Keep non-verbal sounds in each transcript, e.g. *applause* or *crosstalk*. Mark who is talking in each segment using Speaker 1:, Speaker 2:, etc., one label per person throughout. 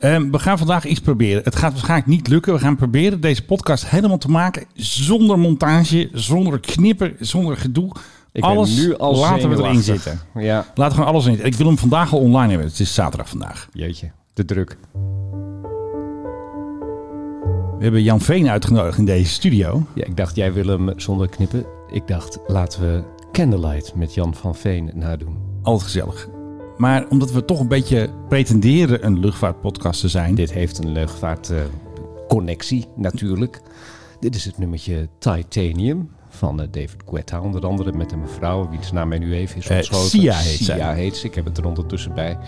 Speaker 1: Ehm, we gaan vandaag iets proberen. Het gaat waarschijnlijk niet lukken. We gaan proberen deze podcast helemaal te maken zonder montage, zonder knippen, zonder gedoe.
Speaker 2: Ik ben
Speaker 1: alles
Speaker 2: nu al
Speaker 1: laten we erin
Speaker 2: zenuwachtig.
Speaker 1: zitten.
Speaker 2: Ja.
Speaker 1: Laten we gewoon alles in zitten. Ik wil hem vandaag al online hebben. Het is zaterdag vandaag.
Speaker 2: Jeetje, de druk.
Speaker 1: We hebben Jan Veen uitgenodigd in deze studio.
Speaker 2: Ja, ik dacht, jij wil hem zonder knippen. Ik dacht, laten we Candlelight met Jan van Veen nadoen.
Speaker 1: Altijd gezellig. Maar omdat we toch een beetje pretenderen een luchtvaartpodcast te zijn.
Speaker 2: Dit heeft een luchtvaartconnectie, connectie natuurlijk. Dit is het nummertje Titanium van eh, David Guetta, onder andere met een mevrouw wiens naam mij nu even is
Speaker 1: Eh,
Speaker 2: ontschoten.
Speaker 1: Sia heet zij.
Speaker 2: Sia heet ze, ik heb het er ondertussen bij.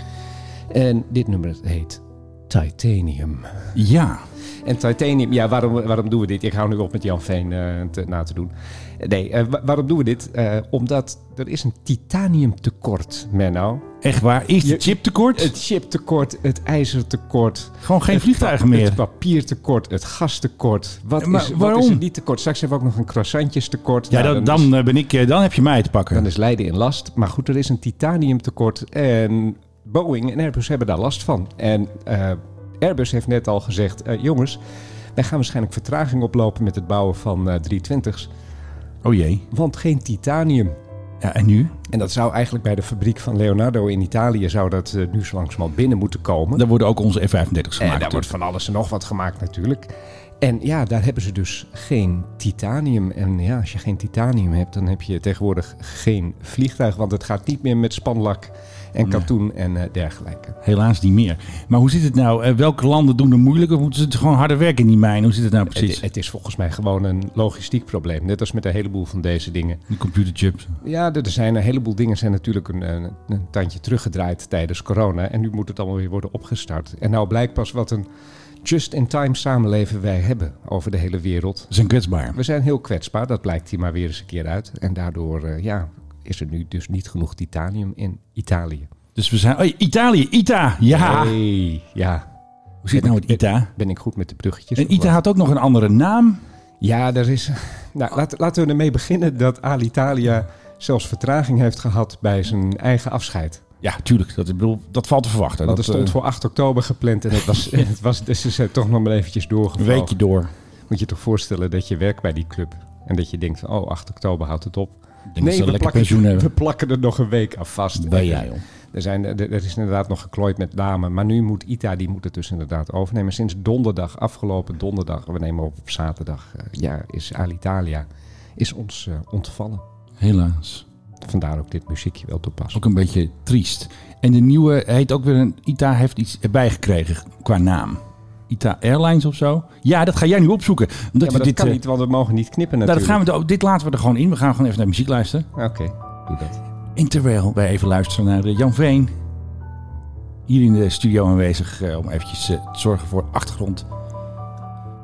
Speaker 2: En dit nummer heet Titanium.
Speaker 1: Ja,
Speaker 2: En titanium, ja, waarom, waarom doen we dit? Ik hou nu op met Jan Veen eh, te- na te doen. Nee, eh, wa- waarom doen we dit? Eh, omdat er is een titaniumtekort, Menno.
Speaker 1: echt waar. Is
Speaker 2: Je-
Speaker 1: het chiptekort?
Speaker 2: Het chiptekort, het ijzertekort.
Speaker 1: Gewoon geen
Speaker 2: het
Speaker 1: vliegtuigen
Speaker 2: pa-
Speaker 1: meer.
Speaker 2: Het papiertekort, het gastekort. Wat,
Speaker 1: Eh, maar
Speaker 2: is, wat
Speaker 1: waarom?
Speaker 2: is er niet tekort? Straks hebben we ook nog een croissantjestekort.
Speaker 1: Ja,
Speaker 2: Nou,
Speaker 1: dan,
Speaker 2: is-
Speaker 1: dan, eh, ben ik, eh, dan heb je mij te pakken.
Speaker 2: dan is Leiden in last. Maar goed, er is een titaniumtekort. En Boeing en Airbus hebben daar last van. En eh, Airbus heeft net al gezegd: eh, jongens, wij gaan waarschijnlijk vertraging oplopen met het bouwen van eh 320's.
Speaker 1: Oh jee.
Speaker 2: Want geen titanium.
Speaker 1: Ja, en nu?
Speaker 2: En dat zou eigenlijk bij de fabriek van Leonardo in Italië zou dat eh, nu zo langzamerhand binnen moeten komen.
Speaker 1: Daar worden ook onze F-35's
Speaker 2: en
Speaker 1: gemaakt.
Speaker 2: Eh, daar wordt van alles en nog wat gemaakt natuurlijk. En ja, daar hebben ze dus geen titanium. En ja, als je geen titanium hebt, dan heb je tegenwoordig geen vliegtuig. Want het gaat niet meer met spanlak en katoen en eh, dergelijke.
Speaker 1: Helaas niet meer. Maar hoe zit het nou? Eh, Welke landen doen er moeilijk of moeten ze gewoon harder werken in die mijn? Hoe zit het nou precies?
Speaker 2: Het, het is volgens mij gewoon een logistiek probleem. Net als met een heleboel van deze dingen.
Speaker 1: De computerchips.
Speaker 2: Ja, er er zijn een heleboel dingen zijn natuurlijk een, een, een tandje teruggedraaid tijdens corona. En nu moet het allemaal weer worden opgestart. En nou blijkt pas wat een just-in-time samenleving wij hebben over de hele wereld.
Speaker 1: Ze zijn kwetsbaar.
Speaker 2: We zijn heel kwetsbaar, dat blijkt hier maar weer eens een keer uit. En daardoor eh, ja, is er nu dus niet genoeg titanium in Italië.
Speaker 1: Dus we zijn... Oh, Italië, ITA! Ja!
Speaker 2: Hey, ja,
Speaker 1: Hoe zit het nou met ITA?
Speaker 2: ben ik goed met de bruggetjes?
Speaker 1: En
Speaker 2: of
Speaker 1: ITA
Speaker 2: wat?
Speaker 1: had ook nog een andere naam.
Speaker 2: Ja, daar is... *laughs* Nou, laten, laten we ermee beginnen dat Alitalia zelfs vertraging heeft gehad bij zijn eigen afscheid.
Speaker 1: Ja, tuurlijk. Dat, ik bedoel, dat valt te verwachten.
Speaker 2: Want er stond
Speaker 1: eh,
Speaker 2: voor 8 oktober gepland en het
Speaker 1: *laughs*
Speaker 2: was, en het was dus ze zijn toch nog maar eventjes
Speaker 1: een
Speaker 2: doorgevlogen.
Speaker 1: weekje door.
Speaker 2: Moet je toch voorstellen dat je werkt bij die club en dat je denkt, van, oh, 8 oktober houdt het op.
Speaker 1: Ik denk dat ze een
Speaker 2: we
Speaker 1: lekker
Speaker 2: plakken,
Speaker 1: pensioen
Speaker 2: we
Speaker 1: hebben.
Speaker 2: plakken er nog een week aan vast.
Speaker 1: Ben jij, joh.
Speaker 2: Er, zijn, er, er is inderdaad nog geklooid met namen, maar nu moet ITA, die moet het dus inderdaad overnemen. Sinds donderdag, afgelopen donderdag, we nemen op op zaterdag, eh, ja, is Alitalia, is ons eh, ontvallen.
Speaker 1: Helaas.
Speaker 2: Vandaar ook dit muziekje wel toepasselijk.
Speaker 1: Ook een beetje triest. En de nieuwe heet ook weer een... ITA heeft iets erbij gekregen qua naam. ITA Airlines of zo? Ja, dat ga jij nu opzoeken. Omdat
Speaker 2: Ja, maar
Speaker 1: we
Speaker 2: dat
Speaker 1: dit,
Speaker 2: kan
Speaker 1: eh,
Speaker 2: niet, want we mogen niet knippen
Speaker 1: Nou,
Speaker 2: natuurlijk.
Speaker 1: dat gaan we, er- dit laten we er gewoon in. We gaan gewoon even naar muziek luisteren.
Speaker 2: Oké, doe dat.
Speaker 1: En terwijl wij even luisteren naar eh, Jan Veen. Hier in de studio aanwezig eh, om eventjes eh, te zorgen voor achtergrond.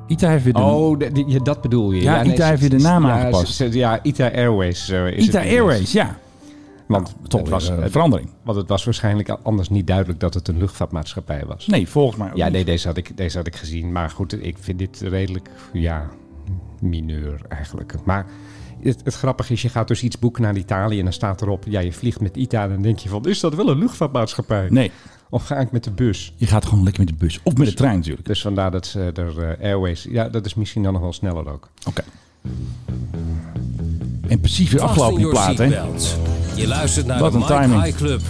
Speaker 1: Ita heeft weer de...
Speaker 2: Oh, de- die- ja, dat bedoel je.
Speaker 1: Ja, ITA
Speaker 2: ze-
Speaker 1: heeft weer de
Speaker 2: ze-
Speaker 1: naam
Speaker 2: ja,
Speaker 1: aangepast.
Speaker 2: ze- ze- ja, ITA Airways eh, is
Speaker 1: Ita
Speaker 2: het ineens.
Speaker 1: Airways, ja.
Speaker 2: Want,
Speaker 1: Toch eh,
Speaker 2: het
Speaker 1: was
Speaker 2: was,
Speaker 1: een
Speaker 2: het-
Speaker 1: verandering.
Speaker 2: want het was waarschijnlijk anders niet duidelijk dat het een luchtvaartmaatschappij was.
Speaker 1: Nee, volgens mij ook
Speaker 2: Ja,
Speaker 1: Oh, niet.
Speaker 2: nee, deze had, ik, deze had ik gezien. Maar goed, ik vind dit redelijk, ja, mineur eigenlijk. Maar het, het grappige is, je gaat dus iets boeken naar Italië en dan staat erop, ja, je vliegt met ITA. En dan denk je van, is dat wel een luchtvaartmaatschappij?
Speaker 1: Nee,
Speaker 2: Of ga ik met de bus?
Speaker 1: je gaat gewoon lekker met de bus. Of met de trein natuurlijk.
Speaker 2: Dus vandaar dat ze er eh, Airways, ja, dat is misschien dan nog wel sneller ook.
Speaker 1: Oké. En precies weer afgelopen die plaat, hè.
Speaker 3: Je luistert naar
Speaker 1: Wat
Speaker 3: de
Speaker 1: een
Speaker 3: Mike
Speaker 1: timing.
Speaker 3: High Club.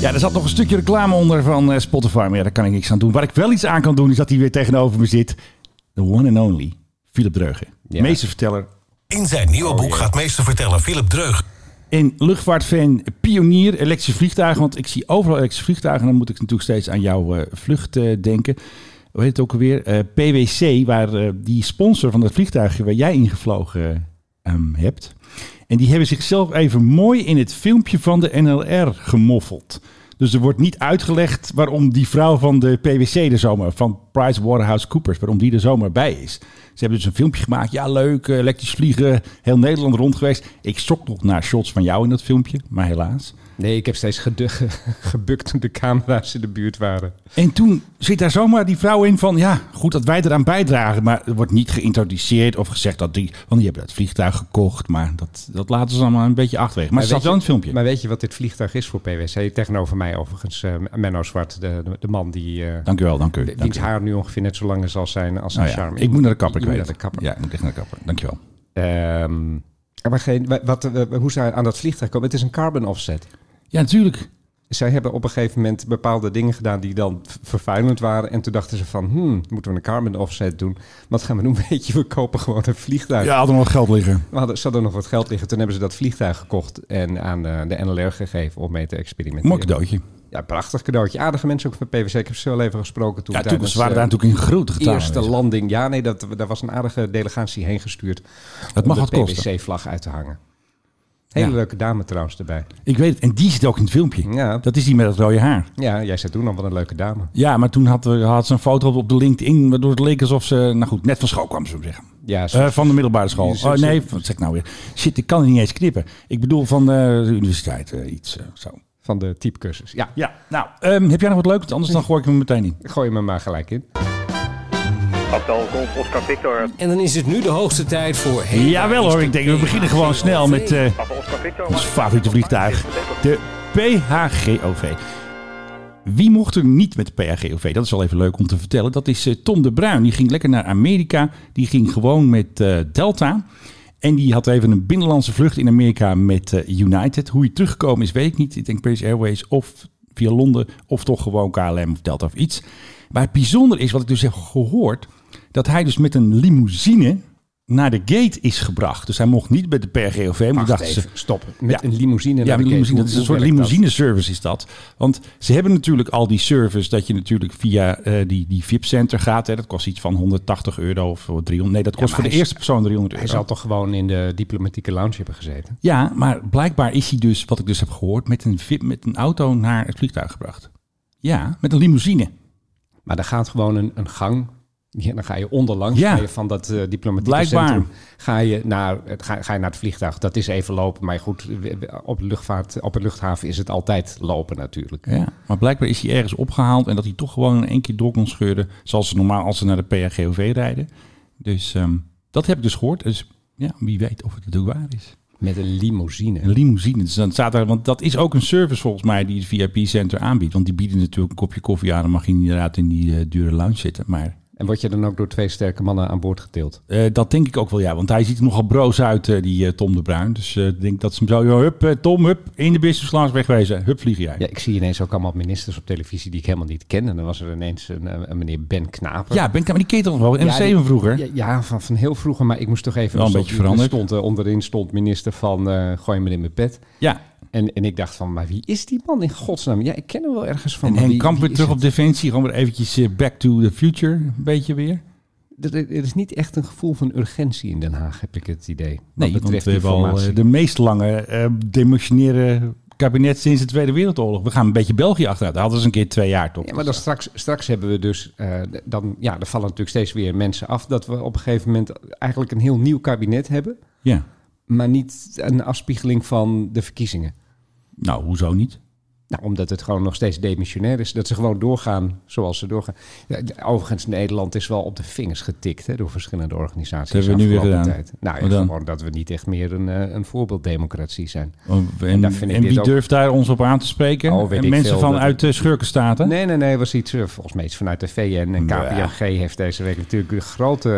Speaker 1: Ja, er zat nog een stukje reclame onder van eh, Spotify. Maar ja, daar kan ik niks aan doen. Waar ik wel iets aan kan doen, is dat hij weer tegenover me zit. The one and only Philip Dreugen.
Speaker 2: Ja.
Speaker 1: Meesterverteller
Speaker 3: In zijn nieuwe boek gaat meester vertellen Philip Dreug.
Speaker 1: en luchtvaartfan, pionier, elektrische vliegtuigen. Want ik zie overal elektrische vliegtuigen. En dan moet ik natuurlijk steeds aan jouw eh, vlucht eh, denken. Hoe heet het ook alweer? Eh, PwC, waar eh, die sponsor van dat vliegtuig waar jij ingevlogen eh, ehm, hebt. En die hebben zichzelf even mooi in het filmpje van de NLR gemoffeld. Dus er wordt niet uitgelegd waarom die vrouw van de PwC er zomaar, van PricewaterhouseCoopers, waarom die er zomaar bij is. Ze hebben dus een filmpje gemaakt. Ja, leuk, eh, elektrisch vliegen, heel Nederland rond geweest. Ik schrok nog naar shots van jou in dat filmpje, maar helaas.
Speaker 2: Nee, ik heb steeds gedu- *laughs* gebukt toen de camera's in de buurt waren.
Speaker 1: En toen zit daar zomaar die vrouw in van, ja, goed dat wij eraan bijdragen, maar er wordt niet geïntroduceerd of gezegd dat die, want die hebben dat vliegtuig gekocht, maar dat, dat laten ze allemaal een beetje achterwege. Maar, ze zat
Speaker 2: weet
Speaker 1: wel in het
Speaker 2: je-
Speaker 1: filmpje.
Speaker 2: Maar weet je wat dit vliegtuig is voor PwC? Tegenover mij overigens, eh, Menno Zwart, de, de, de man die... eh,
Speaker 1: dank u wel, dank u.
Speaker 2: wiens
Speaker 1: dank u.
Speaker 2: haar nu ongeveer net zo lang is als zijn, als zijn
Speaker 1: Nou ja,
Speaker 2: charme.
Speaker 1: ik moet naar de kapper,
Speaker 2: Je
Speaker 1: ik weet
Speaker 2: moet naar de kapper.
Speaker 1: Ja, ik moet echt naar de kapper. Dankjewel.
Speaker 2: Ehm, maar geen, wa- wat, eh, hoe ze aan dat vliegtuig komen, het is een carbon offset.
Speaker 1: Ja, natuurlijk.
Speaker 2: Zij hebben op een gegeven moment bepaalde dingen gedaan die dan v- vervuilend waren. En toen dachten ze van, hmm, moeten we een carbon offset doen? Wat gaan we doen? *laughs* Weet je, we kopen gewoon een vliegtuig.
Speaker 1: Ja, had er nog geld liggen.
Speaker 2: We hadden, ze hadden nog wat geld liggen. Toen hebben ze dat vliegtuig gekocht en aan eh, de NLR gegeven om mee te experimenteren.
Speaker 1: Mooi cadeautje.
Speaker 2: Ja, prachtig cadeautje. Aardige mensen ook van PwC. Ik heb ze wel even gesproken toen.
Speaker 1: Ja,
Speaker 2: tijdens,
Speaker 1: toen, ze waren
Speaker 2: eh,
Speaker 1: daar natuurlijk in grote
Speaker 2: de
Speaker 1: getalen.
Speaker 2: eerste
Speaker 1: aanwezig.
Speaker 2: landing. Ja, nee, dat, daar was een aardige delegatie heen gestuurd.
Speaker 1: Het mag
Speaker 2: om
Speaker 1: wat
Speaker 2: de
Speaker 1: kosten.
Speaker 2: PwC-vlag uit te hangen. Hele
Speaker 1: Ja.
Speaker 2: leuke dame trouwens erbij.
Speaker 1: Ik weet het. En die zit ook in het filmpje.
Speaker 2: Ja,
Speaker 1: Dat is die met dat rode haar.
Speaker 2: ja jij zei toen al wat een leuke dame.
Speaker 1: Ja, maar toen had, eh, had ze een foto op de LinkedIn, waardoor het leek alsof ze, nou goed, net van school kwam, zullen we zeggen.
Speaker 2: Ja,
Speaker 1: Eh, van de middelbare school.
Speaker 2: Zo-
Speaker 1: Oh,
Speaker 2: zo-
Speaker 1: nee, van- wat zeg ik nou weer? Shit, ik kan het niet eens knippen. Ik bedoel van eh, de universiteit, eh, iets eh, zo.
Speaker 2: van de typecursus. Ja,
Speaker 1: Ja, nou, ehm, heb jij nog wat leuks? Anders dan gooi ik hem meteen in.
Speaker 2: gooi me maar gelijk in.
Speaker 4: Hotel Golf Oscar Victor.
Speaker 3: En dan is het nu de hoogste tijd voor...
Speaker 1: Jawel hoor, ik denk we beginnen gewoon snel met eh,
Speaker 4: Papa Oscar Victor.
Speaker 1: ons favoriete vliegtuig. De PHGOV. Wie mocht er niet met de PHGOV? Dat is wel even leuk om te vertellen. Dat is eh, Tom de Bruin. Die ging lekker naar Amerika. Die ging gewoon met eh, Delta. En die had even een binnenlandse vlucht in Amerika met eh, United. Hoe hij teruggekomen is, weet ik niet. Ik denk British Airways of via Londen. Of toch gewoon KLM of Delta of iets. Maar het bijzonder is, wat ik dus heb gehoord... dat hij dus met een limousine naar de gate is gebracht. Dus hij mocht niet met de PHGOV. Maar dachten ze,
Speaker 2: stop. Met
Speaker 1: Ja.
Speaker 2: een limousine.
Speaker 1: ja,
Speaker 2: naar
Speaker 1: met
Speaker 2: de
Speaker 1: limousine.
Speaker 2: gate.
Speaker 1: Dat is een
Speaker 2: Hoe-
Speaker 1: soort
Speaker 2: hoe werkt dat?
Speaker 1: limousine-service is dat. Want ze hebben natuurlijk al die service dat je natuurlijk via eh, die, die VIP-center gaat. Hè. Dat kost iets van 180 euro of 300. Nee, dat kost
Speaker 2: maar
Speaker 1: voor de
Speaker 2: hij is-
Speaker 1: eerste persoon 300
Speaker 2: Hij
Speaker 1: euro.
Speaker 2: zal toch gewoon in de diplomatieke lounge hebben gezeten.
Speaker 1: Ja, maar blijkbaar is hij dus, wat ik dus heb gehoord, met een, VIP, met een auto naar het vliegtuig gebracht. Ja, met een limousine.
Speaker 2: Maar daar gaat gewoon een, een gang. Ja, dan ga je onderlangs
Speaker 1: Ja.
Speaker 2: ga je van dat eh, diplomatieke
Speaker 1: Blijkbaar.
Speaker 2: centrum. Ga je, naar het, ga, ga je naar het vliegtuig. Dat is even lopen. Maar goed, we- we- op de, luchtvaart, op de luchthaven is het altijd lopen natuurlijk.
Speaker 1: Ja, maar blijkbaar is hij ergens opgehaald en dat hij toch gewoon in één keer door kon scheuren. Zoals ze normaal als ze naar de PHGOV rijden. Dus ehm, dat heb ik dus gehoord. Dus ja, wie weet of het natuurlijk waar is.
Speaker 2: Met een limousine.
Speaker 1: Een limousine. Dus dan staat daar, want dat is ook een service volgens mij die het VIP Center aanbiedt. Want die bieden natuurlijk een kopje koffie aan. Dan mag je inderdaad in die eh, dure lounge zitten. Maar
Speaker 2: En word je dan ook door twee sterke mannen aan boord getild?
Speaker 1: eh, dat denk ik ook wel, ja. Want hij ziet er nogal broos uit, eh, die eh, Tom de Bruin. Dus eh, ik denk dat ze hem zo... joh, Hup, eh, Tom, hup, in de business class wegwezen. Hup, vlieg jij.
Speaker 2: Ja, ik zie ineens ook allemaal ministers op televisie die ik helemaal niet ken. En dan was er ineens een, eh, een meneer Ben Knapen.
Speaker 1: Ja, ben ik maar die ketel toch wel.
Speaker 2: Ja,
Speaker 1: NRC
Speaker 2: die-
Speaker 1: van vroeger.
Speaker 2: Ja, ja, van, van heel vroeger, maar ik moest toch even...
Speaker 1: Wel een
Speaker 2: er
Speaker 1: beetje
Speaker 2: stond- er
Speaker 1: veranderd.
Speaker 2: Stond, eh, onderin stond minister van eh, gooi me in mijn pet.
Speaker 1: Ja,
Speaker 2: En, en ik dacht van, maar wie is die man in godsnaam? Ja, ik ken hem wel ergens van.
Speaker 1: en
Speaker 2: maar
Speaker 1: Henk
Speaker 2: wie-
Speaker 1: Kamp
Speaker 2: wie
Speaker 1: weer
Speaker 2: is
Speaker 1: terug op
Speaker 2: het?
Speaker 1: Defensie. Gewoon weer eventjes eh, back to the future. Een beetje weer.
Speaker 2: Er, er is niet echt een gevoel van urgentie in Den Haag, heb ik het idee. Wat
Speaker 1: Nee, want
Speaker 2: betreft
Speaker 1: we hebben al
Speaker 2: informatie.
Speaker 1: eh, de meest lange eh demissionaire kabinet sinds de Tweede Wereldoorlog. We gaan een beetje België achteruit. Dat hadden ze een keer twee jaar toch?
Speaker 2: Ja, maar dan straks, straks hebben we dus, eh, dan, ja, er vallen natuurlijk steeds weer mensen af dat we op een gegeven moment eigenlijk een heel nieuw kabinet hebben.
Speaker 1: Ja.
Speaker 2: maar niet een afspiegeling van de verkiezingen.
Speaker 1: Nou, hoezo niet?
Speaker 2: Nou, omdat het gewoon nog steeds demissionair is. Dat ze gewoon doorgaan zoals ze doorgaan. Ja, de- Overigens, Nederland is wel op de vingers getikt hè, door verschillende organisaties.
Speaker 1: Dat hebben we nu weer
Speaker 2: afgelopen
Speaker 1: gedaan.
Speaker 2: tijd. Nou,
Speaker 1: Wat
Speaker 2: ja,
Speaker 1: dan?
Speaker 2: gewoon dat we niet echt meer een, eh, een voorbeelddemocratie zijn.
Speaker 1: Oh, En,
Speaker 2: daar vind ik
Speaker 1: en
Speaker 2: dit
Speaker 1: wie
Speaker 2: ook-
Speaker 1: durft daar ons op aan te spreken?
Speaker 2: Oh, weet
Speaker 1: en
Speaker 2: ik
Speaker 1: mensen
Speaker 2: veel, dat-
Speaker 1: vanuit eh, schurkenstaten?
Speaker 2: Nee, nee, nee. was iets, eh, volgens mij iets vanuit de VN. En
Speaker 1: Ja.
Speaker 2: KPMG heeft deze week natuurlijk een grote,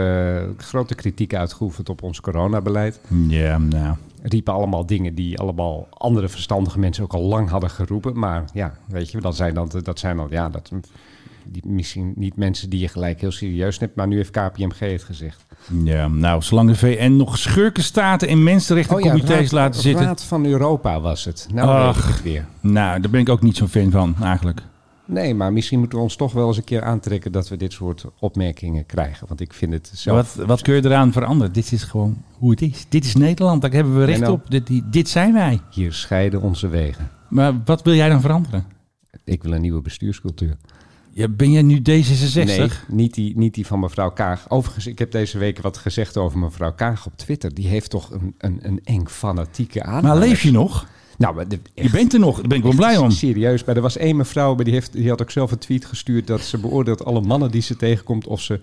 Speaker 2: eh, grote kritiek uitgeoefend op ons coronabeleid.
Speaker 1: Ja, nou.
Speaker 2: Riepen allemaal dingen die allemaal andere verstandige mensen ook al lang hadden geroepen. Maar ja, weet je, dat zijn dan, dat zijn dan ja, dat, die, misschien niet mensen die je gelijk heel serieus neemt. Maar nu heeft KPMG het gezegd.
Speaker 1: Ja, nou, zolang de VN nog schurkenstaten in mensenrechtencomitees
Speaker 2: Oh Raad,
Speaker 1: laten zitten.
Speaker 2: Raad van Europa was het. Nou weet ik
Speaker 1: Ach.
Speaker 2: het weer.
Speaker 1: Nou, daar ben ik ook niet zo'n fan van, eigenlijk.
Speaker 2: Nee, maar misschien moeten we ons toch wel eens een keer aantrekken dat we dit soort opmerkingen krijgen. Want ik vind het zelf...
Speaker 1: Wat, wat kun je eraan veranderen? Dit is gewoon hoe het is. Dit is Nederland, daar hebben we recht
Speaker 2: nou.
Speaker 1: op. Dit, dit zijn wij.
Speaker 2: Hier scheiden onze wegen.
Speaker 1: Maar wat wil jij dan veranderen?
Speaker 2: Ik wil een nieuwe bestuurscultuur.
Speaker 1: Ja, ben jij nu D66?
Speaker 2: Nee, niet die, niet die van mevrouw Kaag. Overigens, ik heb deze week wat gezegd over mevrouw Kaag op Twitter. Die heeft toch een, een, een eng fanatieke aan.
Speaker 1: Maar leef je nog?
Speaker 2: Nou, maar de,
Speaker 1: Je bent er nog, daar ben ik wel blij om.
Speaker 2: Serieus, maar er was één mevrouw, maar die, heeft, die had ook zelf een tweet gestuurd dat ze beoordeelt alle mannen die ze tegenkomt of, ze,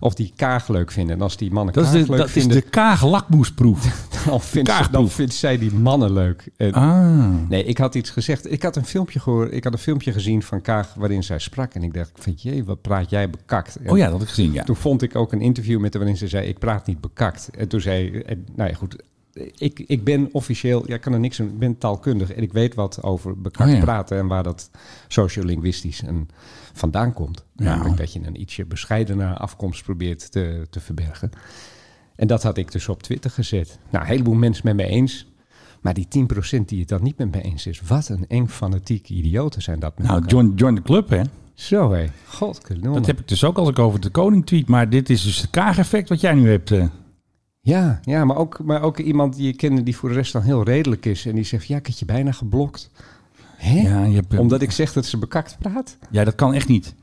Speaker 2: of die kaag leuk vinden. En als die mannen
Speaker 1: Dat is
Speaker 2: kaag
Speaker 1: de,
Speaker 2: leuk
Speaker 1: dat is
Speaker 2: vinden,
Speaker 1: de
Speaker 2: *laughs*
Speaker 1: kaaglakmoesproef.
Speaker 2: dan, vindt ze, dan
Speaker 1: kaagproef.
Speaker 2: vindt zij die mannen leuk. En-
Speaker 1: Ah.
Speaker 2: Nee, ik had iets gezegd. Ik had een filmpje gehoord, ik had een filmpje gezien van Kaag waarin zij sprak. En ik dacht van jee, wat praat jij bekakt. En
Speaker 1: Oh ja, dat had ik gezien, ja.
Speaker 2: Toen vond ik ook een interview met haar waarin ze zei: Ik praat niet bekakt. En toen zei, en, nou ja, goed. Ik, ik ben officieel, ja, ik kan er niks aan, ik ben taalkundig en ik weet wat over bekakt
Speaker 1: Oh ja.
Speaker 2: praten en waar dat sociolinguïstisch en vandaan komt.
Speaker 1: Ja.
Speaker 2: Namelijk dat je een ietsje bescheidener afkomst probeert te, te verbergen. En dat had ik dus op Twitter gezet. Nou, een heleboel mensen met me eens. Maar die 10% die het dan niet met me eens is, wat een eng fanatieke idioten zijn dat. met
Speaker 1: Nou,
Speaker 2: elkaar.
Speaker 1: join, join the club, hè.
Speaker 2: Zo hé, godkanonnen.
Speaker 1: Dat heb ik dus ook als ik over de koning tweet. Maar dit is dus het kaag-effect wat jij nu hebt. eh.
Speaker 2: Ja, ja maar, ook, maar ook iemand die je kende die voor de rest dan heel redelijk is. En die zegt, ja, ik heb je bijna geblokt. Hè?
Speaker 1: Ja, je hebt, eh,
Speaker 2: Omdat ik zeg dat ze bekakt praat.
Speaker 1: ja, dat kan echt niet.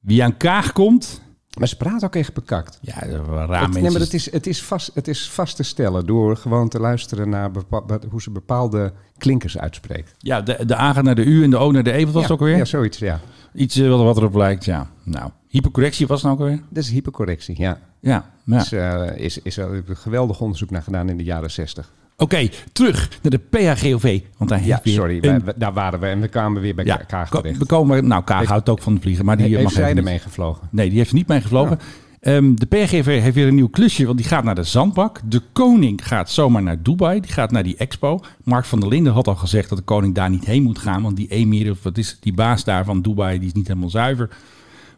Speaker 1: Wie aan kaag komt...
Speaker 2: Maar ze praat ook echt bekakt.
Speaker 1: Ja, dat waren raar
Speaker 2: Het,
Speaker 1: mensen.
Speaker 2: nee, maar het is, het, is vast, het is vast te stellen door gewoon te luisteren naar bepa- wat- hoe ze bepaalde klinkers uitspreekt.
Speaker 1: Ja, de, de A gaat naar de U en de O naar de E. Wat was
Speaker 2: ja,
Speaker 1: het ook alweer?
Speaker 2: Ja, zoiets, ja.
Speaker 1: Iets eh, wat erop lijkt, ja. Nou, hypercorrectie was het nou ook alweer?
Speaker 2: Dat is hypercorrectie, ja.
Speaker 1: Ja, nou. ja.
Speaker 2: Dus, eh, is, is er een geweldig onderzoek naar gedaan in de jaren zestig.
Speaker 1: Oké, terug naar de PHGOV. Want daar
Speaker 2: Ja,
Speaker 1: heeft weer
Speaker 2: sorry,
Speaker 1: een-
Speaker 2: wij- wij- daar waren we en we kwamen weer bij
Speaker 1: ja,
Speaker 2: elkaar Kaag
Speaker 1: ko-
Speaker 2: terecht.
Speaker 1: we komen, nou, Kaag
Speaker 2: Heeft-
Speaker 1: houdt ook van de vliegen, maar die eh,
Speaker 2: Heeft
Speaker 1: mag
Speaker 2: zij
Speaker 1: even niet.
Speaker 2: ermee gevlogen?
Speaker 1: Nee, die heeft er niet mee gevlogen. Ehm, de PRGV heeft weer een nieuw klusje, want die gaat naar de zandbak. De koning gaat zomaar naar Dubai, die gaat naar die expo. Mark van der Linden had al gezegd dat de koning daar niet heen moet gaan, want die emir, of wat is het, die baas daar van Dubai, die is niet helemaal zuiver.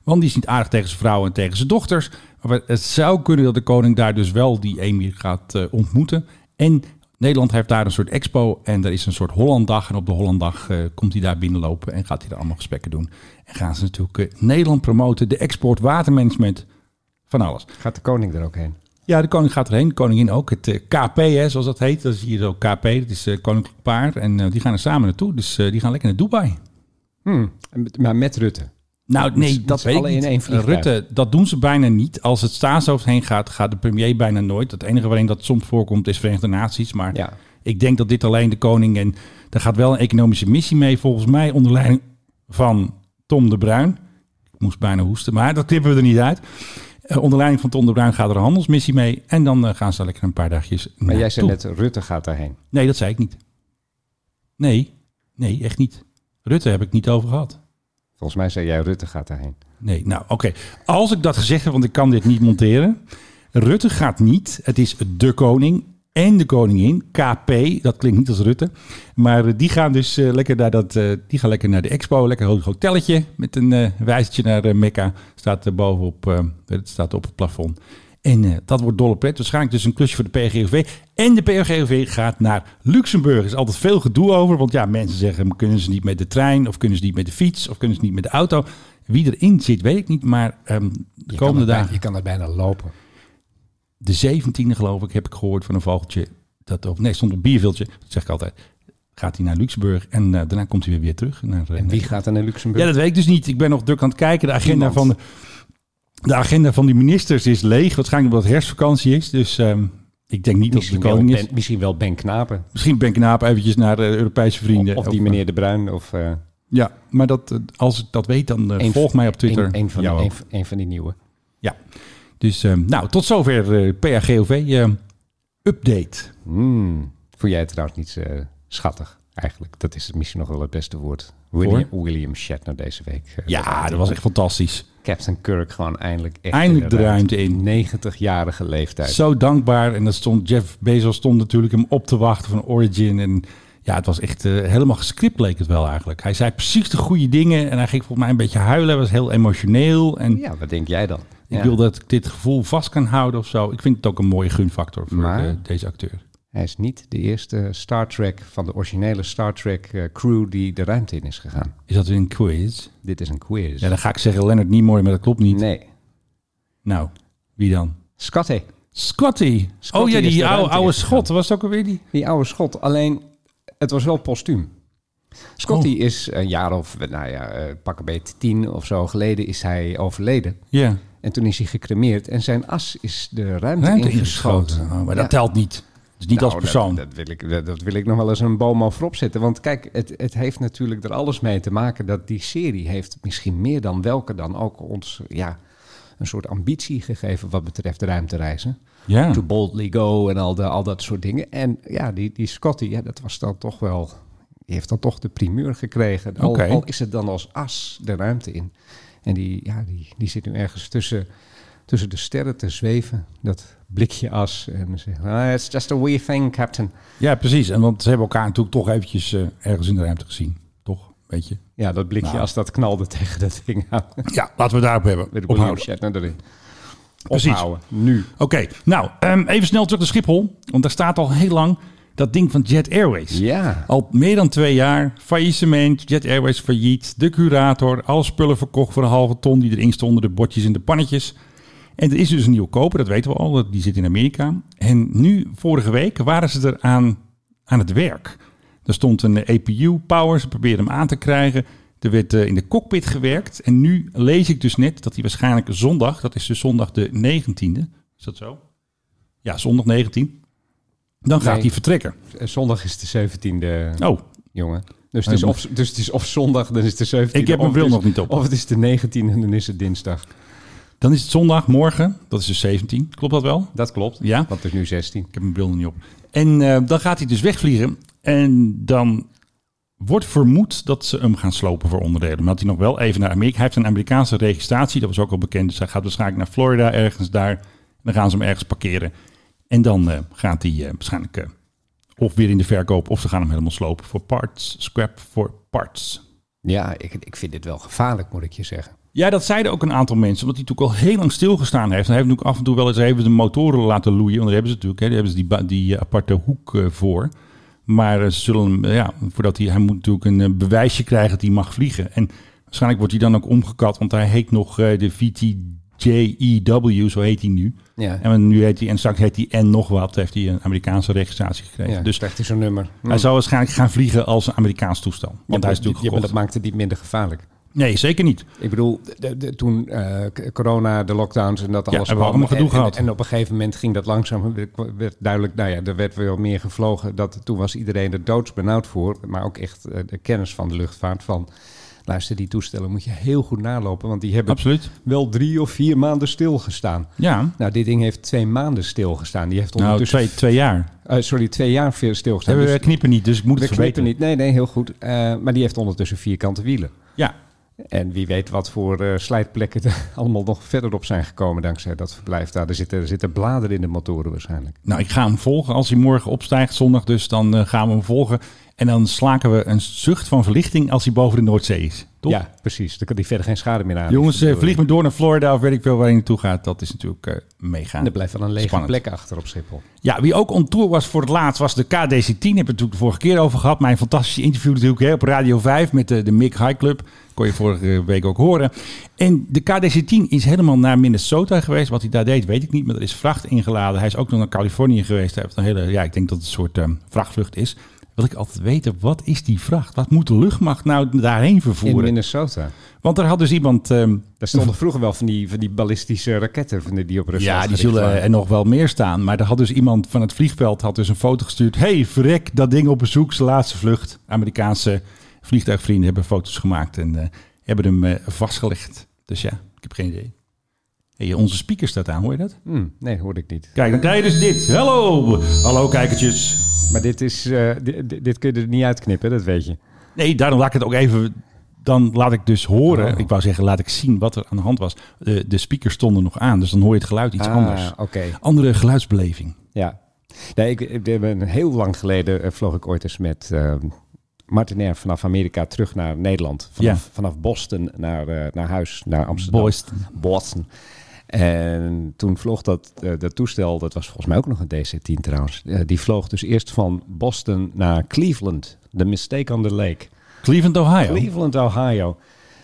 Speaker 1: Want die is niet aardig tegen zijn vrouw en tegen zijn dochters. Maar het zou kunnen dat de koning daar dus wel die emir gaat eh, ontmoeten. En Nederland heeft daar een soort expo en er is een soort Hollanddag. En op de Hollanddag eh, komt hij daar binnenlopen en gaat hij daar allemaal gesprekken doen. En gaan ze natuurlijk eh, Nederland promoten, de export, watermanagement, van alles.
Speaker 2: Gaat de koning er ook heen?
Speaker 1: Ja, de koning gaat erheen, de koningin ook. Het eh, KP, hè, zoals dat heet, dat is hier zo KP, dat is eh, Koninklijk Paard. En eh, die gaan er samen naartoe, dus eh, die gaan lekker naar Dubai.
Speaker 2: Hmm, met- maar met Rutte.
Speaker 1: Nou,
Speaker 2: Met
Speaker 1: nee,
Speaker 2: z'n- met
Speaker 1: dat
Speaker 2: z'n
Speaker 1: weet ik
Speaker 2: allen
Speaker 1: niet.
Speaker 2: in één vliegtuig.
Speaker 1: Rutte, dat doen ze bijna niet. Als het staatshoofd heen gaat, gaat de premier bijna nooit. Het enige waarin dat soms voorkomt is Verenigde Naties. Maar
Speaker 2: Ja.
Speaker 1: ik denk dat dit alleen de koning en... Er gaat wel een economische missie mee, volgens mij onder leiding van Tom de Bruin. Ik moest bijna hoesten, maar dat knippen we er niet uit. Eh, onder leiding van Tom de Bruin gaat er een handelsmissie mee. En dan eh, gaan ze lekker een paar dagjes
Speaker 2: Maar jij zei
Speaker 1: naartoe.
Speaker 2: net, Rutte gaat daarheen.
Speaker 1: Nee, dat zei ik niet. Nee, nee, echt niet. Rutte heb ik niet over gehad.
Speaker 2: Volgens mij zei jij, Rutte gaat daarheen.
Speaker 1: Nee, nou oké. Als ik dat gezegd heb, want ik kan dit niet monteren. Rutte gaat niet. Het is de koning en de koningin. KP, dat klinkt niet als Rutte. Maar eh, die gaan dus eh, lekker, naar dat, eh, die gaan lekker naar de expo. Lekker een hotelletje met een eh wijzertje naar eh, Mekka. Staat er bovenop, eh, het staat op het plafond. En eh, dat wordt dolle pret. Waarschijnlijk dus een klusje voor de PGOV. En de PGOV gaat naar Luxemburg. Er is altijd veel gedoe over. Want ja, mensen zeggen, kunnen ze niet met de trein? Of kunnen ze niet met de fiets? Of kunnen ze niet met de auto? Wie erin zit, weet ik niet. Maar ehm, de komende dagen...
Speaker 2: je kan er bijna lopen.
Speaker 1: De 17e, geloof ik, heb ik gehoord van een vogeltje. Dat, op, nee, stond op bierviltje. Dat zeg ik altijd. Gaat hij naar Luxemburg en eh, daarna komt hij weer, weer terug. Naar, eh,
Speaker 2: En wie gaat er naar Luxemburg?
Speaker 1: Ja, dat weet ik dus niet. Ik ben nog druk aan het kijken. De agenda,
Speaker 2: Niemand.
Speaker 1: van de, de agenda van die ministers is leeg. Waarschijnlijk omdat het herfstvakantie is. Dus ehm, ik denk niet
Speaker 2: misschien,
Speaker 1: dat het de koning
Speaker 2: wel
Speaker 1: is.
Speaker 2: ben, misschien wel Ben Knapen.
Speaker 1: Misschien Ben Knaap eventjes naar eh, Europese vrienden.
Speaker 2: Of, die meneer De Bruin. Of eh,
Speaker 1: Ja, maar dat, eh, als ik dat weet, dan eh,
Speaker 2: een
Speaker 1: volg
Speaker 2: van-
Speaker 1: mij op Twitter.
Speaker 2: Een, een van,
Speaker 1: Jou ook.
Speaker 2: een, van- een van die nieuwe.
Speaker 1: Ja. Dus ehm, nou, tot zover eh PAGOV. ehm, update.
Speaker 2: Hmm. Vond jij het trouwens niet eh, schattig? Eigenlijk, dat is misschien nog wel het beste woord. William, William Shatner deze week. eh,
Speaker 1: Ja, dat was echt fantastisch.
Speaker 2: Captain Kirk gewoon eindelijk echt
Speaker 1: Eindelijk de
Speaker 2: inderdaad.
Speaker 1: ruimte in.
Speaker 2: 90-jarige leeftijd.
Speaker 1: Zo dankbaar. En dat stond, Jeff Bezos stond natuurlijk hem op te wachten van Origin. En ja, het was echt eh, helemaal gescript leek het wel eigenlijk. Hij zei precies de goede dingen. En hij ging volgens mij een beetje huilen. Hij was heel emotioneel. En
Speaker 2: Ja, wat denk jij dan?
Speaker 1: ik
Speaker 2: Ja.
Speaker 1: wil dat ik dit gevoel vast kan houden of zo. Ik vind het ook een mooie gunfactor voor
Speaker 2: Maar-
Speaker 1: eh, deze acteur.
Speaker 2: Hij is niet de eerste Star Trek van de originele Star Trek eh, crew die de ruimte in is gegaan.
Speaker 1: Is dat weer een quiz?
Speaker 2: Dit is een quiz.
Speaker 1: Ja, dan ga ik zeggen Leonard Nimoy, maar dat klopt niet.
Speaker 2: nee.
Speaker 1: Nou, wie dan?
Speaker 2: Scotty,
Speaker 1: Scotty.
Speaker 2: Scotty
Speaker 1: oh ja,
Speaker 2: is de
Speaker 1: die oude,
Speaker 2: ruimte
Speaker 1: oude
Speaker 2: ingegaan.
Speaker 1: schot. Was het ook alweer die?
Speaker 2: die oude schot. Alleen, het was wel postuum. Scotty
Speaker 1: Oh.
Speaker 2: is een jaar of, eh, nou ja, eh, pak een beetje tien of zo geleden is hij overleden.
Speaker 1: Ja.
Speaker 2: En toen is hij gecremeerd en zijn as is de ruimte,
Speaker 1: Ruimte
Speaker 2: ingeschoten.
Speaker 1: ingeschoten. Oh, maar dat telt niet. Dus niet
Speaker 2: Nou,
Speaker 1: als persoon.
Speaker 2: Dat, dat, wil ik, dat, dat wil ik nog wel eens een boom over opzetten. Want kijk, het, het heeft natuurlijk er alles mee te maken dat die serie heeft misschien meer dan welke dan ook ons ja, een soort ambitie gegeven wat betreft ruimtereizen.
Speaker 1: ja.
Speaker 2: To boldly go en al, de, al dat soort dingen. En ja, die, die Scotty, ja, dat was dan toch wel. Die heeft dan toch de primeur gekregen. Al,
Speaker 1: Oké.
Speaker 2: al is het dan als as de ruimte in. En die, ja, die, die zit nu ergens tussen, tussen de sterren te zweven. Dat blikje as. En zegt: "Ah, It's just a wee thing, Captain.
Speaker 1: ja, precies. En want ze hebben elkaar natuurlijk toch eventjes eh, ergens in de ruimte gezien. Toch? Weet je?
Speaker 2: Ja, dat blikje
Speaker 1: Nou.
Speaker 2: as dat knalde *laughs* tegen dat ding aan.
Speaker 1: Ja, laten we daarop
Speaker 2: Met
Speaker 1: hebben.
Speaker 2: de William
Speaker 1: Ophouden.
Speaker 2: Shatner erin.
Speaker 1: Precies.
Speaker 2: Ophouden. Nu.
Speaker 1: Oké, nou, ehm, even snel terug naar Schiphol. Want daar staat al heel lang dat ding van Jet Airways.
Speaker 2: Ja.
Speaker 1: Al meer dan twee jaar. Faillissement, Jet Airways failliet, de curator. Alle spullen verkocht voor een halve ton die erin stonden. De bordjes en de pannetjes. En er is dus een nieuwe koper, dat weten we al. dat- Die zit in Amerika. En nu, vorige week, waren ze er aan, aan het werk. Er stond een eh, APU-power, ze probeerden hem aan te krijgen. Er werd eh, in de cockpit gewerkt. En nu lees ik dus net dat hij waarschijnlijk zondag... dat is dus zondag de 19e. Is dat zo? Ja, zondag 19. Dan gaat
Speaker 2: Nee.
Speaker 1: hij vertrekken.
Speaker 2: Eh, Zondag is de 17e.
Speaker 1: Oh,
Speaker 2: jongen. Dus het, is
Speaker 1: Ja,
Speaker 2: of, dus het is of zondag, dan is de 17e.
Speaker 1: Ik heb mijn
Speaker 2: of het
Speaker 1: bril
Speaker 2: is-
Speaker 1: nog niet op.
Speaker 2: Of het is de 19e en dan is het dinsdag.
Speaker 1: Dan is het zondag, morgen. Dat is dus 17. Klopt dat wel?
Speaker 2: Dat klopt.
Speaker 1: Ja.
Speaker 2: Want het is nu 16.
Speaker 1: Ik heb mijn bril nog niet op. En eh, dan gaat hij dus wegvliegen. En dan wordt vermoed dat ze hem gaan slopen voor onderdelen. Maar dat hij nog wel even naar Amerika... Hij heeft een Amerikaanse registratie. Dat was ook al bekend. Dus hij gaat waarschijnlijk naar Florida ergens daar. Dan gaan ze hem ergens parkeren. En dan eh, gaat hij eh, waarschijnlijk... eh, of weer in de verkoop, of ze gaan hem helemaal slopen voor parts. Scrap voor parts.
Speaker 2: Ja, ik, ik vind dit wel gevaarlijk, moet ik je zeggen.
Speaker 1: Ja, dat zeiden ook een aantal mensen, omdat hij natuurlijk al heel lang stilgestaan heeft. En hij heeft natuurlijk af en toe wel eens even de motoren laten loeien. Want daar hebben ze natuurlijk, hè, daar hebben ze die, ba- die eh, aparte hoek eh, voor. Maar eh, ze zullen hem, eh, ja, voordat hij, hij moet natuurlijk een eh, bewijsje krijgen dat hij mag vliegen. En waarschijnlijk wordt hij dan ook omgekat, want hij heet nog eh, de VTJEW, E zo heet hij nu.
Speaker 2: Ja.
Speaker 1: En nu heet hij, en straks heet hij en nog wat, heeft hij een Amerikaanse registratie gekregen.
Speaker 2: Ja,
Speaker 1: dus
Speaker 2: dus krijgt hij zo'n nummer. Hm.
Speaker 1: hij zal waarschijnlijk gaan vliegen als een Amerikaans toestel.
Speaker 2: Ja,
Speaker 1: Want hij is
Speaker 2: maar-
Speaker 1: natuurlijk
Speaker 2: ja, maar
Speaker 1: gekocht.
Speaker 2: dat maakt het niet minder gevaarlijk.
Speaker 1: Nee, zeker niet.
Speaker 2: Ik bedoel, de- de- toen eh, k- corona, de lockdowns en dat
Speaker 1: Ja, hebben
Speaker 2: alles.
Speaker 1: we
Speaker 2: kwam
Speaker 1: allemaal gedoe
Speaker 2: en, en-
Speaker 1: gehad.
Speaker 2: En, op een gegeven moment ging dat langzaam. werd- werd duidelijk, nou ja, er werd wel meer gevlogen. Dat, toen was iedereen er doodsbenauwd voor. Maar ook echt eh, de kennis van de luchtvaart. Van luister, die toestellen moet je heel goed nalopen. Want die hebben
Speaker 1: Absoluut.
Speaker 2: wel drie of vier maanden stilgestaan.
Speaker 1: Ja.
Speaker 2: Nou, dit ding heeft twee maanden stilgestaan. Die heeft
Speaker 1: Nou,
Speaker 2: ondertussen.
Speaker 1: twee, twee jaar.
Speaker 2: eh, sorry, twee jaar veel stilgestaan.
Speaker 1: Hebben
Speaker 2: Dus
Speaker 1: we knippen niet, dus ik moet
Speaker 2: we
Speaker 1: het verbeteren.
Speaker 2: knippen niet. Nee, nee, heel goed. Eh, maar die heeft ondertussen vierkante wielen.
Speaker 1: Ja,
Speaker 2: En wie weet wat voor eh, slijtplekken er *laughs* allemaal nog verder op zijn gekomen dankzij dat verblijf daar. Er zitten, er zitten bladeren in de motoren waarschijnlijk.
Speaker 1: nou ik ga hem volgen. Als hij morgen opstijgt, zondag dus, dan eh, gaan we hem volgen. En dan slaken we een zucht van verlichting als hij boven de Noordzee is. Toch?
Speaker 2: Ja, precies. Dan kan die verder geen schade meer aan.
Speaker 1: Jongens, eh, vlieg me door naar Florida of weet ik veel waar hij naartoe gaat. Dat is natuurlijk eh meegaan.
Speaker 2: En er blijft wel een lege
Speaker 1: Spannend.
Speaker 2: plek achter op Schiphol.
Speaker 1: Ja, wie ook on tour was voor het laatst was de KDC-10. Hebben we het natuurlijk de vorige keer over gehad. Mijn fantastische interview natuurlijk hè, op Radio 5 met de, de Mick High Club. Kon je vorige week ook horen. En de KDC-10 is helemaal naar Minnesota geweest. Wat hij daar deed, weet ik niet. Maar er is vracht ingeladen. Hij is ook nog naar Californië geweest. Hij heeft een hele, ja, ik denk dat het een soort eh, vrachtvlucht is. Wil ik altijd weten, wat is die vracht? Wat moet de luchtmacht nou daarheen
Speaker 2: In
Speaker 1: vervoeren?
Speaker 2: Minnesota.
Speaker 1: Want er had dus iemand... ehm,
Speaker 2: Daar
Speaker 1: *laughs*
Speaker 2: stonden vroeger wel van die, van die ballistische raketten van die, die op Rusland
Speaker 1: Ja, die
Speaker 2: gericht
Speaker 1: zullen
Speaker 2: waren.
Speaker 1: er nog wel meer staan. Maar er had dus iemand van het vliegveld had dus een foto gestuurd. hey, verrek, dat ding op bezoek, zijn laatste vlucht. Amerikaanse vliegtuigvrienden hebben foto's gemaakt en eh, hebben hem eh, vastgelegd. Dus ja, ik heb geen idee. Hey, onze speaker staat aan, hoor je dat?
Speaker 2: Hm, nee, hoorde ik niet.
Speaker 1: Kijk, dan krijg je dus dit. Hallo! Hallo kijkertjes.
Speaker 2: Maar dit, is, eh, di- di- dit kun je er niet uitknippen, dat weet je.
Speaker 1: Nee, daarom laat ik het ook even... Dan laat ik dus horen, ik wou zeggen, laat ik zien wat er aan de hand was. De, de speakers stonden nog aan, dus dan hoor je het geluid iets
Speaker 2: Ah,
Speaker 1: anders.
Speaker 2: Oké,
Speaker 1: Andere geluidsbeleving.
Speaker 2: ja. Nee, ik, ik ben een heel lang geleden eh, vloog ik ooit eens met eh, Martin Air vanaf Amerika terug naar Nederland. Vanaf, vanaf Boston naar, eh, naar huis, naar Amsterdam.
Speaker 1: Boys.
Speaker 2: Boston. En toen vloog dat, eh, dat toestel, dat was volgens mij ook nog een DC-10 trouwens. eh, die vloog dus eerst van Boston naar Cleveland. The Mistake on the Lake.
Speaker 1: Cleveland, Ohio.
Speaker 2: Cleveland, Ohio.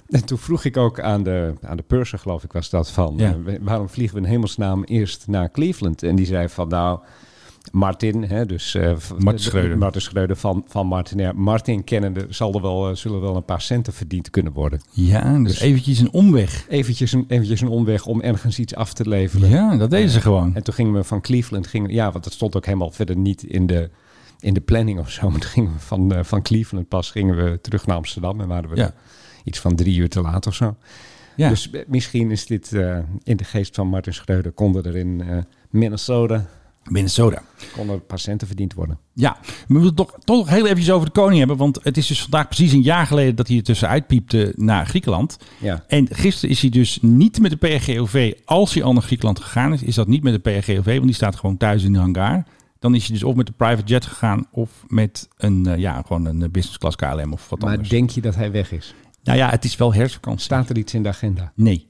Speaker 2: En toen vroeg ik ook aan de, aan de purser, geloof ik, was dat van...
Speaker 1: Ja.
Speaker 2: eh, waarom vliegen we in hemelsnaam eerst naar Cleveland? En die zei van, nou, Martin, hè, dus eh, v-
Speaker 1: Mart Schreuder.
Speaker 2: de- Martin Schreuder van, van Martin. Ja, Martin kennende zal er wel, eh, zullen wel een paar centen verdiend kunnen worden.
Speaker 1: Ja, dus eventjes een omweg.
Speaker 2: Eventjes een, eventjes een omweg om ergens iets af te leveren.
Speaker 1: Ja, dat deden ze gewoon.
Speaker 2: En toen gingen we van Cleveland, gingen, ja, want dat stond ook helemaal verder niet in de, in de planning of zo. *laughs* Maar toen gingen we van, eh, van Cleveland pas gingen we terug naar Amsterdam en waren we
Speaker 1: Ja.
Speaker 2: er iets van drie uur te laat of zo.
Speaker 1: Ja.
Speaker 2: Dus eh, misschien is dit eh, in de geest van Martin Schreuder, konden er in eh, Minnesota
Speaker 1: Minnesota.
Speaker 2: konden er patiënten verdiend worden.
Speaker 1: Ja, we moeten toch, toch nog heel eventjes over de koning hebben. Want het is dus vandaag precies een jaar geleden dat hij er tussenuit piepte naar Griekenland.
Speaker 2: Ja.
Speaker 1: En gisteren is hij dus niet met de PRGOV. Als hij al naar Griekenland gegaan is, is dat niet met de PRGOV. Want die staat gewoon thuis in de hangar. Dan is hij dus of met de private jet gegaan of met een, eh, ja, gewoon een eh, business class KLM of wat
Speaker 2: Maar
Speaker 1: anders.
Speaker 2: denk je dat hij weg is?
Speaker 1: Nou ja, het is wel herfstvakantie.
Speaker 2: Staat er iets in de agenda?
Speaker 1: Nee,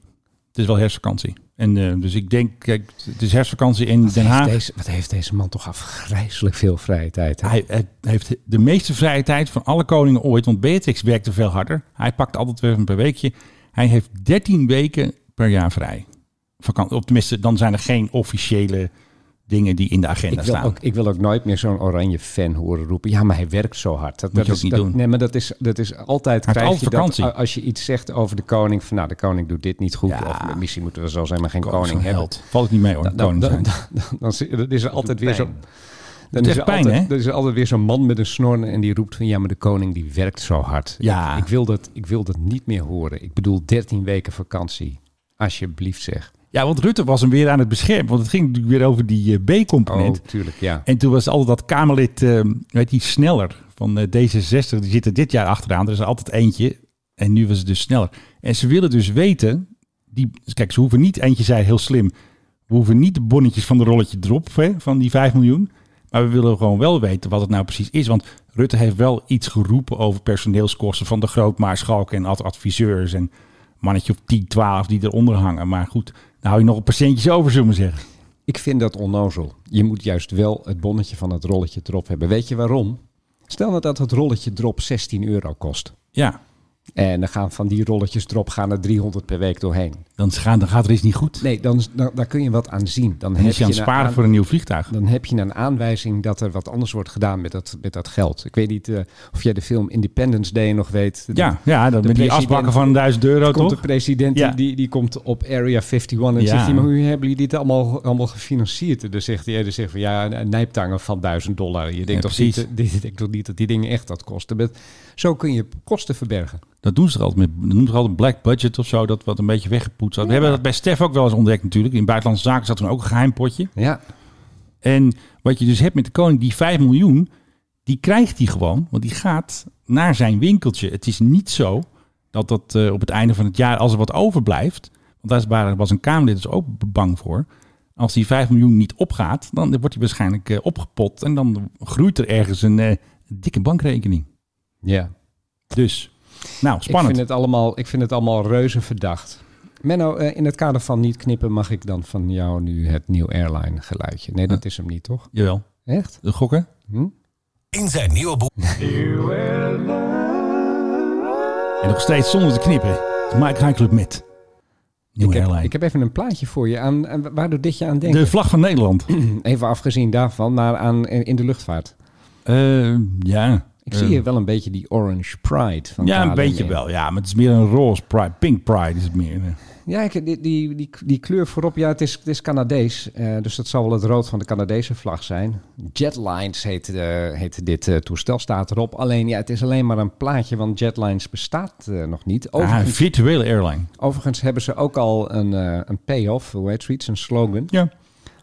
Speaker 1: het is wel herfstvakantie. En eh, dus ik denk, kijk, het is herfstvakantie in Den
Speaker 2: Heeft
Speaker 1: Haag.
Speaker 2: deze, wat heeft deze man toch afgrijzelijk veel vrije tijd. hè?
Speaker 1: Hij, hij heeft de meeste vrije tijd van alle koningen ooit. Want Beatrix werkte veel harder. Hij pakt altijd weer een per weekje. Hij heeft 13 weken per jaar vrij. Vakant, of tenminste, dan zijn er geen officiële dingen die in de agenda
Speaker 2: Ik wil,
Speaker 1: staan.
Speaker 2: ook, ik wil ook nooit meer zo'n oranje fan horen roepen. Ja, maar hij werkt zo hard. Dat,
Speaker 1: Moet je
Speaker 2: dat
Speaker 1: ook
Speaker 2: is,
Speaker 1: niet
Speaker 2: dat-
Speaker 1: doen.
Speaker 2: Nee, maar dat is, dat is altijd.
Speaker 1: Hij heeft
Speaker 2: krijg
Speaker 1: altijd
Speaker 2: je dat,
Speaker 1: vakantie.
Speaker 2: a- als je iets zegt over de koning. Van nou, de koning doet dit niet goed.
Speaker 1: Ja.
Speaker 2: Of misschien moeten we zo zijn, maar geen
Speaker 1: Zo'n
Speaker 2: koning hebben.
Speaker 1: held. Valt het niet mee hoor,
Speaker 2: Dan, dan,
Speaker 1: koning
Speaker 2: dan,
Speaker 1: zijn.
Speaker 2: dan- dan zie- dan is er altijd weer zo'n. Dan
Speaker 1: Doet
Speaker 2: is,
Speaker 1: echt
Speaker 2: er
Speaker 1: pijn,
Speaker 2: altijd,
Speaker 1: hè?
Speaker 2: dan is er altijd weer zo'n man met een snor en die roept van ja, maar de koning die werkt zo hard.
Speaker 1: Ja.
Speaker 2: Ik, ik wil dat, ik wil dat niet meer horen. Ik bedoel 13 weken vakantie. Alsjeblieft zeg.
Speaker 1: Ja, want Rutte was hem weer aan het beschermen. Want het ging natuurlijk weer over die eh,
Speaker 2: Oh,
Speaker 1: B-component.
Speaker 2: tuurlijk, ja.
Speaker 1: En toen was altijd dat Kamerlid, eh, weet die, sneller van eh, D66. Die zitten dit jaar achteraan. Er is er altijd eentje. En nu was het dus sneller. En ze willen dus weten. Die, kijk, ze hoeven niet, eentje zei heel slim. We hoeven niet de bonnetjes van de rolletje erop hè, van die 5 miljoen. Maar we willen gewoon wel weten wat het nou precies is. Want Rutte heeft wel iets geroepen over personeelskosten van de grootmaarschalken en ad- adviseurs. En mannetje op 10, 12 die eronder hangen. Maar goed, dan hou je nog een paar centjes over, zullen we maar zeggen.
Speaker 2: Ik vind dat onnozel. Je moet juist wel het bonnetje van het rolletje erop hebben. Weet je waarom? Stel nou dat het rolletje erop 16 euro kost.
Speaker 1: Ja,
Speaker 2: En dan gaan van die rolletjes erop gaan er 300 per week doorheen.
Speaker 1: dan, gaan, dan gaat er iets niet goed.
Speaker 2: Nee, dan, dan, daar kun je wat aan zien. Dan
Speaker 1: En
Speaker 2: heb
Speaker 1: is je aan het
Speaker 2: een
Speaker 1: sparen
Speaker 2: aan-
Speaker 1: voor een nieuw vliegtuig.
Speaker 2: dan heb je een aanwijzing dat er wat anders wordt gedaan met dat, met dat geld. Ik weet niet eh, of jij de film Independence Day nog weet.
Speaker 1: Ja, ja dan
Speaker 2: de
Speaker 1: met die
Speaker 2: president-
Speaker 1: asbakken van 1000 euro,
Speaker 2: komt
Speaker 1: toch?
Speaker 2: de president
Speaker 1: Ja.
Speaker 2: die- die, die komt op Area 51 en
Speaker 1: Ja.
Speaker 2: zegt hij, maar hoe hebben jullie dit allemaal, allemaal gefinancierd? En dan zegt hij, eh, dan zegt van ja, nijptangen van 1000 dollar. Je denkt, toch niet,
Speaker 1: precies.
Speaker 2: *laughs* die- je denkt toch niet dat die dingen echt dat kosten? Met- zo kun je kosten verbergen.
Speaker 1: Dat doen ze er altijd met. Dat noemen ze er altijd black budget of zo. Dat wat een beetje weggepoetst had. We hebben dat bij Stef ook wel eens ontdekt natuurlijk. In Buitenlandse Zaken zat toen ook een geheim potje.
Speaker 2: Ja,
Speaker 1: En wat je dus hebt met de koning, die 5 miljoen, die krijgt hij gewoon. Want die gaat naar zijn winkeltje. Het is niet zo dat dat eh, op het einde van het jaar, als er wat overblijft. Want daar is- waren- was een Kamerlid dus ook bang voor. Als die 5 miljoen niet opgaat, dan wordt hij waarschijnlijk eh, opgepot. En dan groeit er ergens een eh, dikke bankrekening.
Speaker 2: ja.
Speaker 1: Dus, nou,
Speaker 2: Ik, vind
Speaker 1: spannend.
Speaker 2: het allemaal, ik vind het allemaal reuze verdacht. Menno, eh, in het kader van niet knippen mag ik dan van jou nu het nieuw airline geluidje. Nee, dat is hem niet, toch?
Speaker 1: Jawel.
Speaker 2: Echt?
Speaker 1: De gokken?
Speaker 3: In zijn nieuwe boek.
Speaker 1: En nog steeds zonder te knippen. De Mike High Club met. Nieuwe
Speaker 2: Ik heb,
Speaker 1: airline.
Speaker 2: ik heb even een plaatje voor je. Aan, aan- waardoor dit je aan denkt.
Speaker 1: De vlag van
Speaker 2: *clears throat*
Speaker 1: Nederland.
Speaker 2: Even afgezien daarvan, maar aan, in de luchtvaart.
Speaker 1: Eh, ja.
Speaker 2: Ik
Speaker 1: Eh,
Speaker 2: zie hier wel een beetje die Orange Pride. Van
Speaker 1: Ja, een
Speaker 2: KLM
Speaker 1: beetje
Speaker 2: in.
Speaker 1: wel. Ja, maar het is meer een roze pride. Pink pride is het meer. eh.
Speaker 2: Ja, ik, die, die, die, die kleur voorop, ja, het is, het is Canadees. eh, dus dat zal wel het rood van de Canadese vlag zijn. Jetlines heet, eh, heet dit eh, toestel, staat erop. Alleen, ja, het is alleen maar een plaatje, want Jetlines bestaat eh, nog niet.
Speaker 1: Ah, een
Speaker 2: Overigens,
Speaker 1: virtuele airline.
Speaker 2: overigens hebben ze ook al een, eh een payoff, hoe heet zoiets, een slogan.
Speaker 1: Ja.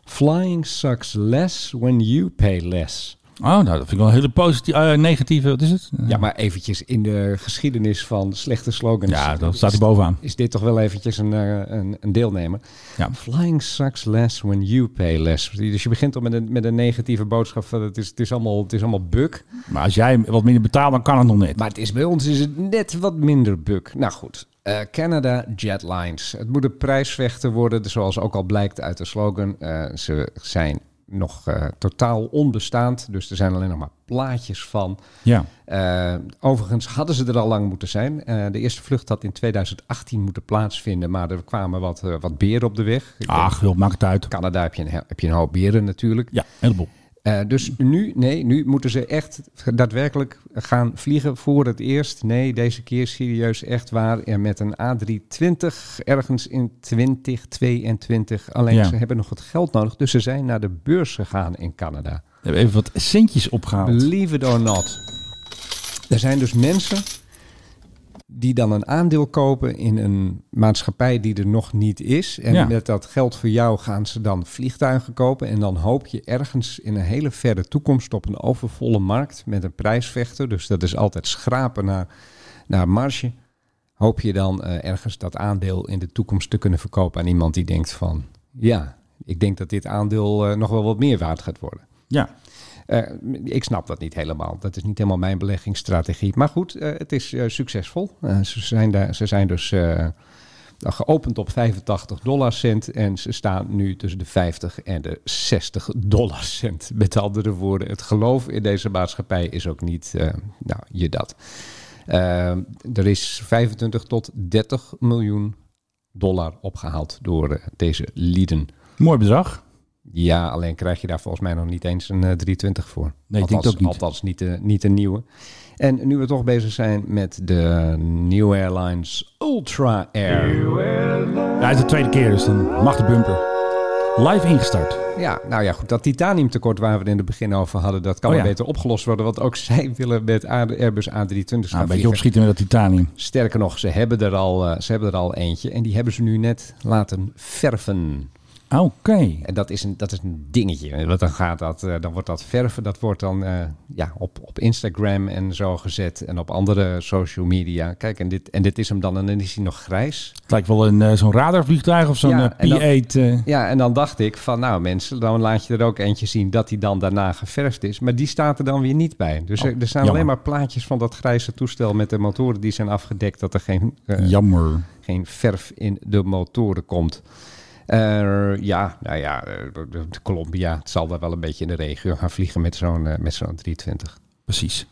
Speaker 2: Flying sucks less when you pay less.
Speaker 1: Oh, nou, dat vind ik wel een hele positieve, eh, negatieve, wat is het?
Speaker 2: Ja, maar eventjes in de geschiedenis van slechte slogans.
Speaker 1: Ja, dat staat er bovenaan.
Speaker 2: Is dit toch wel eventjes een, eh, een, een deelnemer?
Speaker 1: Ja.
Speaker 2: Flying sucks less when you pay less. Dus je begint al met een, met een negatieve boodschap van het is, het is allemaal, het is allemaal buk.
Speaker 1: Maar als jij wat minder betaalt, dan kan het nog net.
Speaker 2: Maar het is, bij ons is het net wat minder buk. Nou goed, Eh, Canada Jetlines. Het moet een prijsvechter worden, dus zoals ook al blijkt uit de slogan. Eh, ze zijn nog eh, totaal onbestaand, dus er zijn alleen nog maar plaatjes van.
Speaker 1: Ja.
Speaker 2: Eh, overigens hadden ze er al lang moeten zijn. Eh, de eerste vlucht had in 2018 moeten plaatsvinden, maar er kwamen wat, eh, wat beren op de weg. Ik denk,
Speaker 1: Ah. Ach, joh, maakt het uit.
Speaker 2: Canada heb je, een, he- heb je een hoop beren natuurlijk.
Speaker 1: Ja, een heleboel.
Speaker 2: Eh, Eh, dus nu, nee, nu moeten ze echt daadwerkelijk gaan vliegen voor het eerst. Nee, deze keer serieus echt waar. En met een A320 ergens in 2022. Alleen
Speaker 1: Ja.
Speaker 2: ze hebben nog wat geld nodig. Dus ze zijn naar de beurs gegaan in Canada.
Speaker 1: We hebben even wat centjes opgehaald.
Speaker 2: Believe it or not. Er zijn dus mensen die dan een aandeel kopen in een maatschappij die er nog niet is. En
Speaker 1: Ja.
Speaker 2: met dat geld voor jou gaan ze dan vliegtuigen kopen. En dan hoop je ergens in een hele verre toekomst op een overvolle markt met een prijsvechter. Dus dat is altijd schrapen naar, naar marge. Hoop je dan eh, ergens dat aandeel in de toekomst te kunnen verkopen aan iemand die denkt van... Ja, ik denk dat dit aandeel eh, nog wel wat meer waard gaat worden.
Speaker 1: Ja,
Speaker 2: Eh, ik snap dat niet helemaal. Dat is niet helemaal mijn beleggingsstrategie. Maar goed, eh, het is eh, succesvol. Eh, ze, zijn daar, ze zijn dus eh, geopend op 85 dollarcent. En ze staan nu tussen de 50 en de 60 dollarcent. *laughs* Met andere woorden, het geloof in deze maatschappij is ook niet, eh, nou, je dat. Eh, er is 25 tot 30 miljoen dollar opgehaald door eh, deze lieden.
Speaker 1: mooi bedrag.
Speaker 2: Ja, alleen krijg je daar volgens mij nog niet eens een eh, 320 voor.
Speaker 1: Nee, ik denk
Speaker 2: althans,
Speaker 1: het ook niet.
Speaker 2: Althans, niet, de, niet een nieuwe. En nu we toch bezig zijn met de New Airlines Ultra Air.
Speaker 1: Ja, het is de tweede keer, dus dan mag de bumper. Live ingestart.
Speaker 2: Ja, nou ja, goed. Dat titaniumtekort waar we het in het begin over hadden, dat kan
Speaker 1: Oh
Speaker 2: wel
Speaker 1: ja.
Speaker 2: beter opgelost worden. Want ook *laughs* zij willen met A- Airbus A320
Speaker 1: Nou,
Speaker 2: gaan
Speaker 1: een beetje
Speaker 2: vliegen.
Speaker 1: opschieten met dat titanium.
Speaker 2: Sterker nog, ze hebben, er al, eh, ze hebben er al eentje. En die hebben ze nu net laten verven.
Speaker 1: Oké.
Speaker 2: En dat is een, dat is een dingetje. Want dan, gaat dat, eh, dan wordt dat verven, dat wordt dan eh, ja, op, op Instagram en zo gezet en op andere social media. Kijk, en dit, en dit is hem dan en dan is hij nog grijs.
Speaker 1: Het lijkt wel een, eh, zo'n radarvliegtuig of zo'n
Speaker 2: Ja,
Speaker 1: eh,
Speaker 2: en dat-
Speaker 1: P-8. eh.
Speaker 2: Ja, en dan dacht ik van nou mensen, dan laat je er ook eentje zien dat hij dan daarna geverfd is. Maar die staat er dan weer niet bij. Dus er, er staan
Speaker 1: jammer.
Speaker 2: alleen maar plaatjes van dat grijze toestel met de motoren die zijn afgedekt. Dat er geen eh,
Speaker 1: Jammer.
Speaker 2: geen verf in de motoren komt. Eh, ja, nou ja, eh, de- de Colombia het zal daar wel een beetje in de regio gaan vliegen met zo'n eh, met zo'n 320.
Speaker 1: Precies.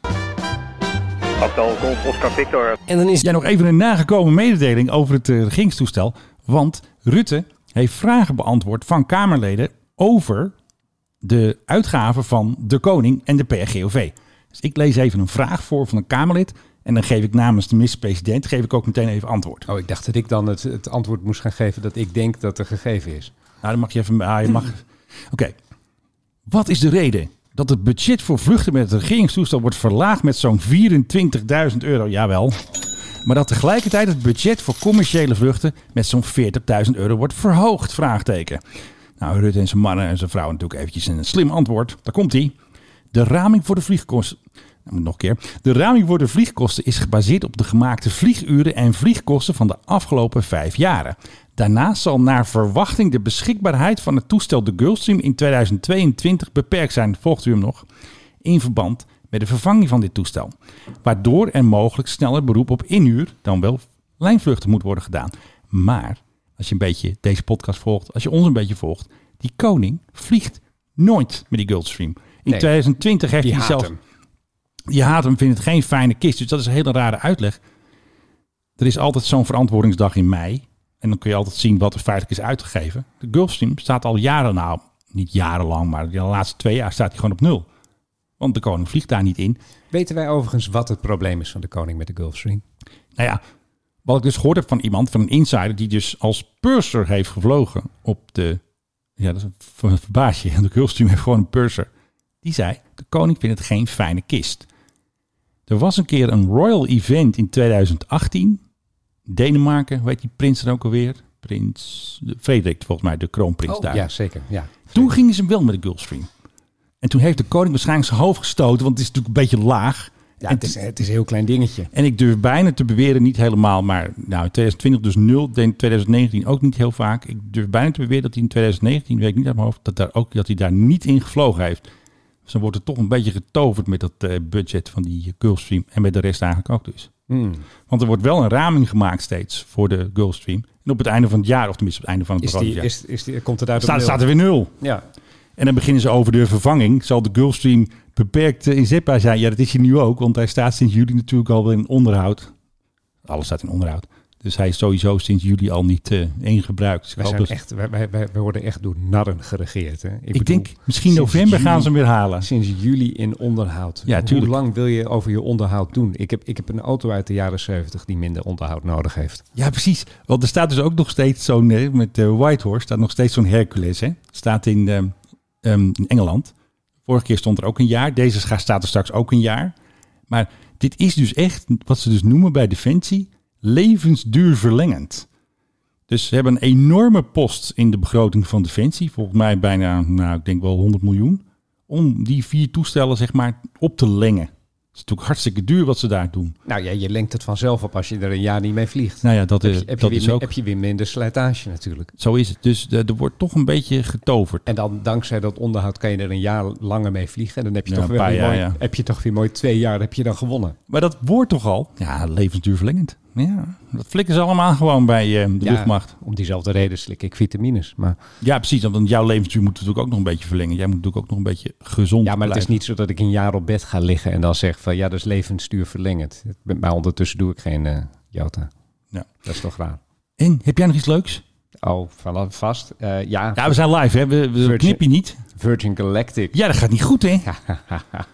Speaker 4: Abdal Golf Oscar Victor.
Speaker 3: En dan is
Speaker 1: Ja, nog even een nagekomen mededeling over het eh, regeringstoestel. Want Rutte heeft vragen beantwoord van Kamerleden over de uitgaven van de Koning en de PRGOV. Dus ik lees even een vraag voor van een Kamerlid. En dan geef ik namens de minister-president geef ik ook meteen even antwoord.
Speaker 2: Oh, ik dacht dat ik dan het, het antwoord moest gaan geven dat ik denk dat er gegeven is.
Speaker 1: Nou, dan mag je even. Ah, je mag. Oké. Wat is de reden dat het budget voor vluchten met het regeringstoestel wordt verlaagd met zo'n 24.000 euro? Jawel. Maar dat tegelijkertijd het budget voor commerciële vluchten met zo'n 40.000 euro wordt verhoogd? Vraagteken. Nou, Rutte en zijn mannen en zijn vrouw natuurlijk eventjes een slim antwoord. Daar komt hij. De raming voor de vliegkosten. Nou, Nog een keer. De raming voor de vliegkosten is gebaseerd op de gemaakte vlieguren en vliegkosten van de afgelopen vijf jaren. Daarnaast zal naar verwachting de beschikbaarheid van het toestel de Gulfstream in 2022 beperkt zijn. Volgt u hem nog? In verband met de vervanging van dit toestel. Waardoor er mogelijk sneller beroep op inhuur dan wel lijnvluchten moet worden gedaan. Maar als je een beetje deze podcast volgt, als je ons een beetje volgt, die koning vliegt nooit met die Gulfstream. In
Speaker 2: Nee.
Speaker 1: 2020 heeft
Speaker 2: Die
Speaker 1: hij
Speaker 2: haat
Speaker 1: zelf
Speaker 2: hem.
Speaker 1: je haat hem, vindt het geen fijne kist. Dus dat is een hele rare uitleg. Er is altijd zo'n verantwoordingsdag in mei. En dan kun je altijd zien wat er feitelijk is uitgegeven. De Gulfstream staat al jaren, nou niet jarenlang, maar de laatste twee jaar staat hij gewoon op nul. Want de koning vliegt daar niet in.
Speaker 2: Weten wij overigens wat het probleem is van de koning met de Gulfstream?
Speaker 1: Nou ja, wat ik dus gehoord heb van iemand, van een insider, die dus als purser heeft gevlogen op de. Ja, dat is een ver- verbaas *laughs* je. De Gulfstream heeft gewoon een purser. Die zei: De koning vindt het geen fijne kist. Er was een keer een royal event in 2018. Denemarken, hoe heet die prins dan ook alweer? Prins Frederik, volgens mij, de kroonprins daar.
Speaker 2: Oh. ja, zeker. Ja.
Speaker 1: Toen gingen ze wel met de Gulfstream. En toen heeft de koning waarschijnlijk zijn hoofd gestoten, want het is natuurlijk een beetje laag.
Speaker 2: Ja,
Speaker 1: En
Speaker 2: het, is, het is een heel klein dingetje.
Speaker 1: en ik durf bijna te beweren, niet helemaal, maar nou, in 2020 dus nul, deed in 2019 ook niet heel vaak. Ik durf bijna te beweren dat hij in 2019, weet ik niet uit mijn hoofd, dat, daar ook, dat hij daar niet in gevlogen heeft. Dus dan wordt er toch een beetje getoverd met dat eh, budget van die eh, Gulfstream en met de rest eigenlijk ook dus. Want er wordt wel een raming gemaakt steeds voor de Gulfstream. En op het einde van het jaar, of tenminste op het einde van het
Speaker 2: Is die,
Speaker 1: programmajaar,
Speaker 2: is, is die, komt het uit op
Speaker 1: staat,
Speaker 2: nul?
Speaker 1: staat er weer nul.
Speaker 2: Ja.
Speaker 1: En dan beginnen ze over de vervanging. Zal de Gulfstream beperkt eh, inzetbaar zijn? Ja, dat is hij nu ook, want hij staat sinds juli natuurlijk al in onderhoud. Alles staat in onderhoud. Dus hij is sowieso sinds juli al niet eh één gebruikt. Ik
Speaker 2: Wij,
Speaker 1: hoop
Speaker 2: zijn
Speaker 1: dat-
Speaker 2: echt, wij, wij, wij wij worden echt door narren geregeerd. Hè?
Speaker 1: ik
Speaker 2: bedoel,
Speaker 1: denk, misschien
Speaker 2: sinds
Speaker 1: november gaan
Speaker 2: juli-
Speaker 1: ze hem weer halen.
Speaker 2: Sinds juli in onderhoud.
Speaker 1: Ja,
Speaker 2: Hoe
Speaker 1: tuurlijk.
Speaker 2: lang wil je over je onderhoud doen? Ik heb, ik heb een auto uit de jaren 70 die minder onderhoud nodig heeft.
Speaker 1: Ja, precies. Want er staat dus ook nog steeds zo'n, eh, met eh, Whitehorse, staat nog steeds zo'n Hercules. Hè? Staat in, ehm, ehm, in Engeland. Vorige keer stond er ook een jaar. Deze scha- staat er straks ook een jaar. Maar dit is dus echt, wat ze dus noemen bij Defensie, levensduur verlengend. Dus ze hebben een enorme post in de begroting van Defensie. Volgens mij bijna, nou, ik denk wel 100 miljoen. Om die vier toestellen, zeg maar, op te lengen. Het is natuurlijk hartstikke duur wat ze daar doen.
Speaker 2: Nou ja, je lengt het vanzelf op als je er een jaar niet mee vliegt.
Speaker 1: Nou ja, dat,
Speaker 2: heb,
Speaker 1: is-
Speaker 2: je, heb, je
Speaker 1: dat
Speaker 2: weer,
Speaker 1: is
Speaker 2: mi-
Speaker 1: ook...
Speaker 2: heb je weer minder slijtage natuurlijk.
Speaker 1: Zo is het. Dus eh, er wordt toch een beetje getoverd.
Speaker 2: En dan dankzij dat onderhoud kan je er een jaar langer mee vliegen. En dan heb je,
Speaker 1: Ja,
Speaker 2: toch,
Speaker 1: een
Speaker 2: weer
Speaker 1: paar
Speaker 2: weer
Speaker 1: jaar,
Speaker 2: mooi,
Speaker 1: ja.
Speaker 2: heb je toch weer mooi twee jaar heb je dan gewonnen.
Speaker 1: Maar dat wordt toch al? Ja, levensduur verlengend. Ja, dat flikken ze allemaal gewoon bij eh, de
Speaker 2: Ja,
Speaker 1: luchtmacht.
Speaker 2: Om diezelfde reden slik ik vitamines. Maar,
Speaker 1: Ja, precies. Want jouw levensduur moet natuurlijk ook nog een beetje verlengen. Jij moet natuurlijk ook nog een beetje gezond
Speaker 2: ja, maar het is
Speaker 1: blijven.
Speaker 2: niet zo dat ik een jaar op bed ga liggen en dan zeg van ja, dat is levensduur verlengend. Maar ondertussen doe ik geen eh jota.
Speaker 1: Ja.
Speaker 2: Dat is toch raar.
Speaker 1: En, heb jij nog iets leuks?
Speaker 2: Oh, vanaf vast. Eh, ja,
Speaker 1: Ja, we zijn live, hè? We, we
Speaker 2: Virgin.
Speaker 1: knip je niet.
Speaker 2: Virgin Galactic.
Speaker 1: Ja, dat gaat niet goed, hè?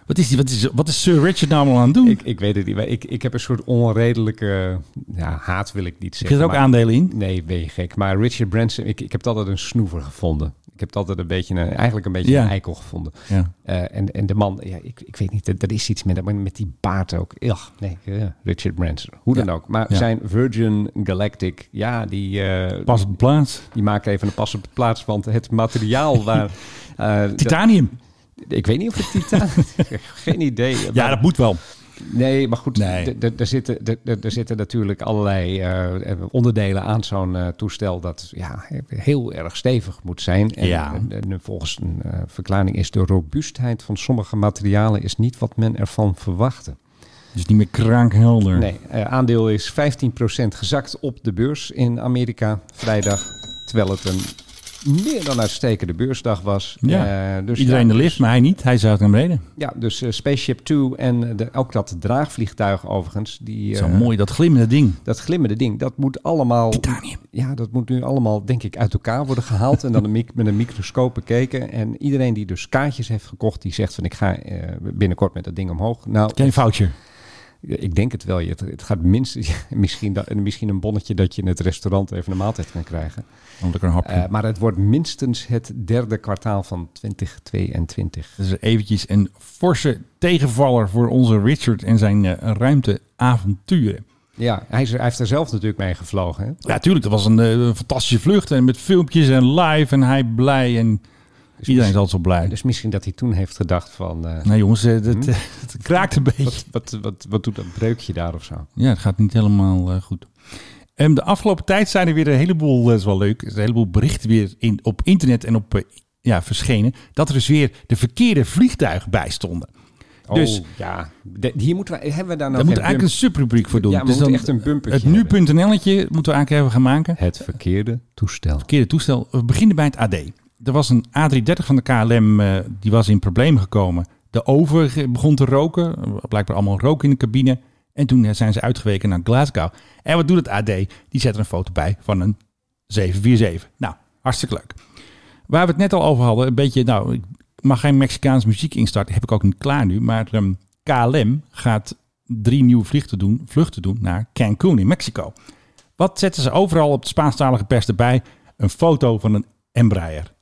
Speaker 1: Wat is, die, wat is, wat is Sir Richard nou allemaal aan het doen?
Speaker 2: *laughs* Ik, ik weet het niet. maar Ik, ik heb een soort onredelijke ja, haat, wil ik niet
Speaker 1: Zit
Speaker 2: zeggen.
Speaker 1: er ook
Speaker 2: maar-
Speaker 1: aandelen in?
Speaker 2: Nee, ben je gek. Maar Richard Branson, ik, ik heb het altijd een snoever gevonden. Ik heb het altijd een beetje een, eigenlijk een beetje
Speaker 1: Ja.
Speaker 2: een eikel gevonden.
Speaker 1: Ja.
Speaker 2: Eh, en, en de man, ja, ik, ik weet niet, er er is iets met, hem, maar met die baard ook. Ugh, nee, eh, Richard Branson, hoe dan
Speaker 1: Ja.
Speaker 2: ook. Maar
Speaker 1: Ja.
Speaker 2: zijn Virgin Galactic, ja, die, eh,
Speaker 1: Pas op de plaats.
Speaker 2: die maken even een pas op de plaats. Want
Speaker 1: *laughs*
Speaker 2: het materiaal waar... eh, dat-
Speaker 1: Titanium.
Speaker 2: ik weet niet of het titaan... geen idee.
Speaker 1: Ja, dat moet wel.
Speaker 2: Nee, maar goed,
Speaker 1: Nee.
Speaker 2: d- d- daar zitten, d- d- daar zitten natuurlijk allerlei eh, onderdelen aan zo'n eh, toestel dat ja, heel erg stevig moet zijn. En,
Speaker 1: Ja.
Speaker 2: en- en volgens een eh, verklaring is de robuustheid van sommige materialen is niet wat men ervan verwachtte.
Speaker 1: Dus niet meer krankhelder.
Speaker 2: Nee, eh, aandeel is 15% gezakt op de beurs in Amerika vrijdag, terwijl het een meer dan uitstekende beursdag was.
Speaker 1: Ja.
Speaker 2: Eh, dus
Speaker 1: Iedereen
Speaker 2: ja,
Speaker 1: de lift, maar hij niet. Hij zou het naar beneden.
Speaker 2: Ja, dus eh, Spaceship Two en de, ook dat draagvliegtuig overigens. Die,
Speaker 1: Zo
Speaker 2: eh,
Speaker 1: mooi, dat glimmende ding.
Speaker 2: dat glimmende ding, dat moet allemaal.
Speaker 1: Titanium.
Speaker 2: Ja, dat moet nu allemaal, denk ik, uit elkaar worden gehaald. En dan een mic- met een microscoop bekeken. En iedereen die dus kaartjes heeft gekocht, die zegt van ik ga eh, binnenkort met dat ding omhoog. Nou,
Speaker 1: Geen voucher.
Speaker 2: ik denk het wel. Je- Het, het gaat minstens *laughs* misschien, dat- misschien een bonnetje dat je in het restaurant even een maaltijd kan krijgen.
Speaker 1: Oh, lekker een hapje.
Speaker 2: Eh, maar het wordt minstens het derde kwartaal van 2022.
Speaker 1: Dat is eventjes een forse tegenvaller voor onze Richard en zijn eh, ruimteavonturen.
Speaker 2: Ja, hij, is, er- hij heeft er zelf natuurlijk mee gevlogen. Hè?
Speaker 1: Ja, tuurlijk, dat was een eh, fantastische vlucht. En met filmpjes en live en hij blij. En iedereen is altijd zo blij.
Speaker 2: Dus misschien dat hij toen heeft gedacht
Speaker 1: *laughs*
Speaker 2: van... eh,
Speaker 1: nou jongens, eh, dat, het kraakt een beetje.
Speaker 2: wat, wat, wat, wat doet dat breukje daar of zo?
Speaker 1: Ja, het gaat niet helemaal eh, goed. Ehm, de afgelopen tijd zijn er weer een heleboel, dat is wel leuk, er is een heleboel berichten weer in, op internet en op eh, ja, verschenen. Dat er dus weer de verkeerde vliegtuigen bij stonden.
Speaker 2: Oh,
Speaker 1: Dus-
Speaker 2: ja, De- hier moeten we, hebben we daar nou
Speaker 1: Daar moeten
Speaker 2: geen
Speaker 1: we eigenlijk een subrubriek voor doen. Dus
Speaker 2: Ja, we moeten echt een bumpertje
Speaker 1: Het nu.nl-tje moeten we eigenlijk even gaan maken.
Speaker 2: bump- Het verkeerde toestel.
Speaker 1: verkeerde toestel. We beginnen bij het AD. Er was een A330 van de KLM, eh, die was in problemen gekomen. De oven begon te roken, Eh, blijkbaar allemaal rook in de cabine. En toen eh, zijn ze uitgeweken naar Glasgow. En wat doet het AD? Die zet er een foto bij van een 747. Nou, hartstikke leuk. Waar we het net al over hadden, een beetje, nou, ik mag geen Mexicaans muziek instarten, heb ik ook niet klaar nu. Maar ehm, KLM gaat drie nieuwe vluchten doen, vluchten doen naar Cancún in Mexico. Wat zetten ze overal op de Spaanstalige pers erbij? Een foto van een Embraer.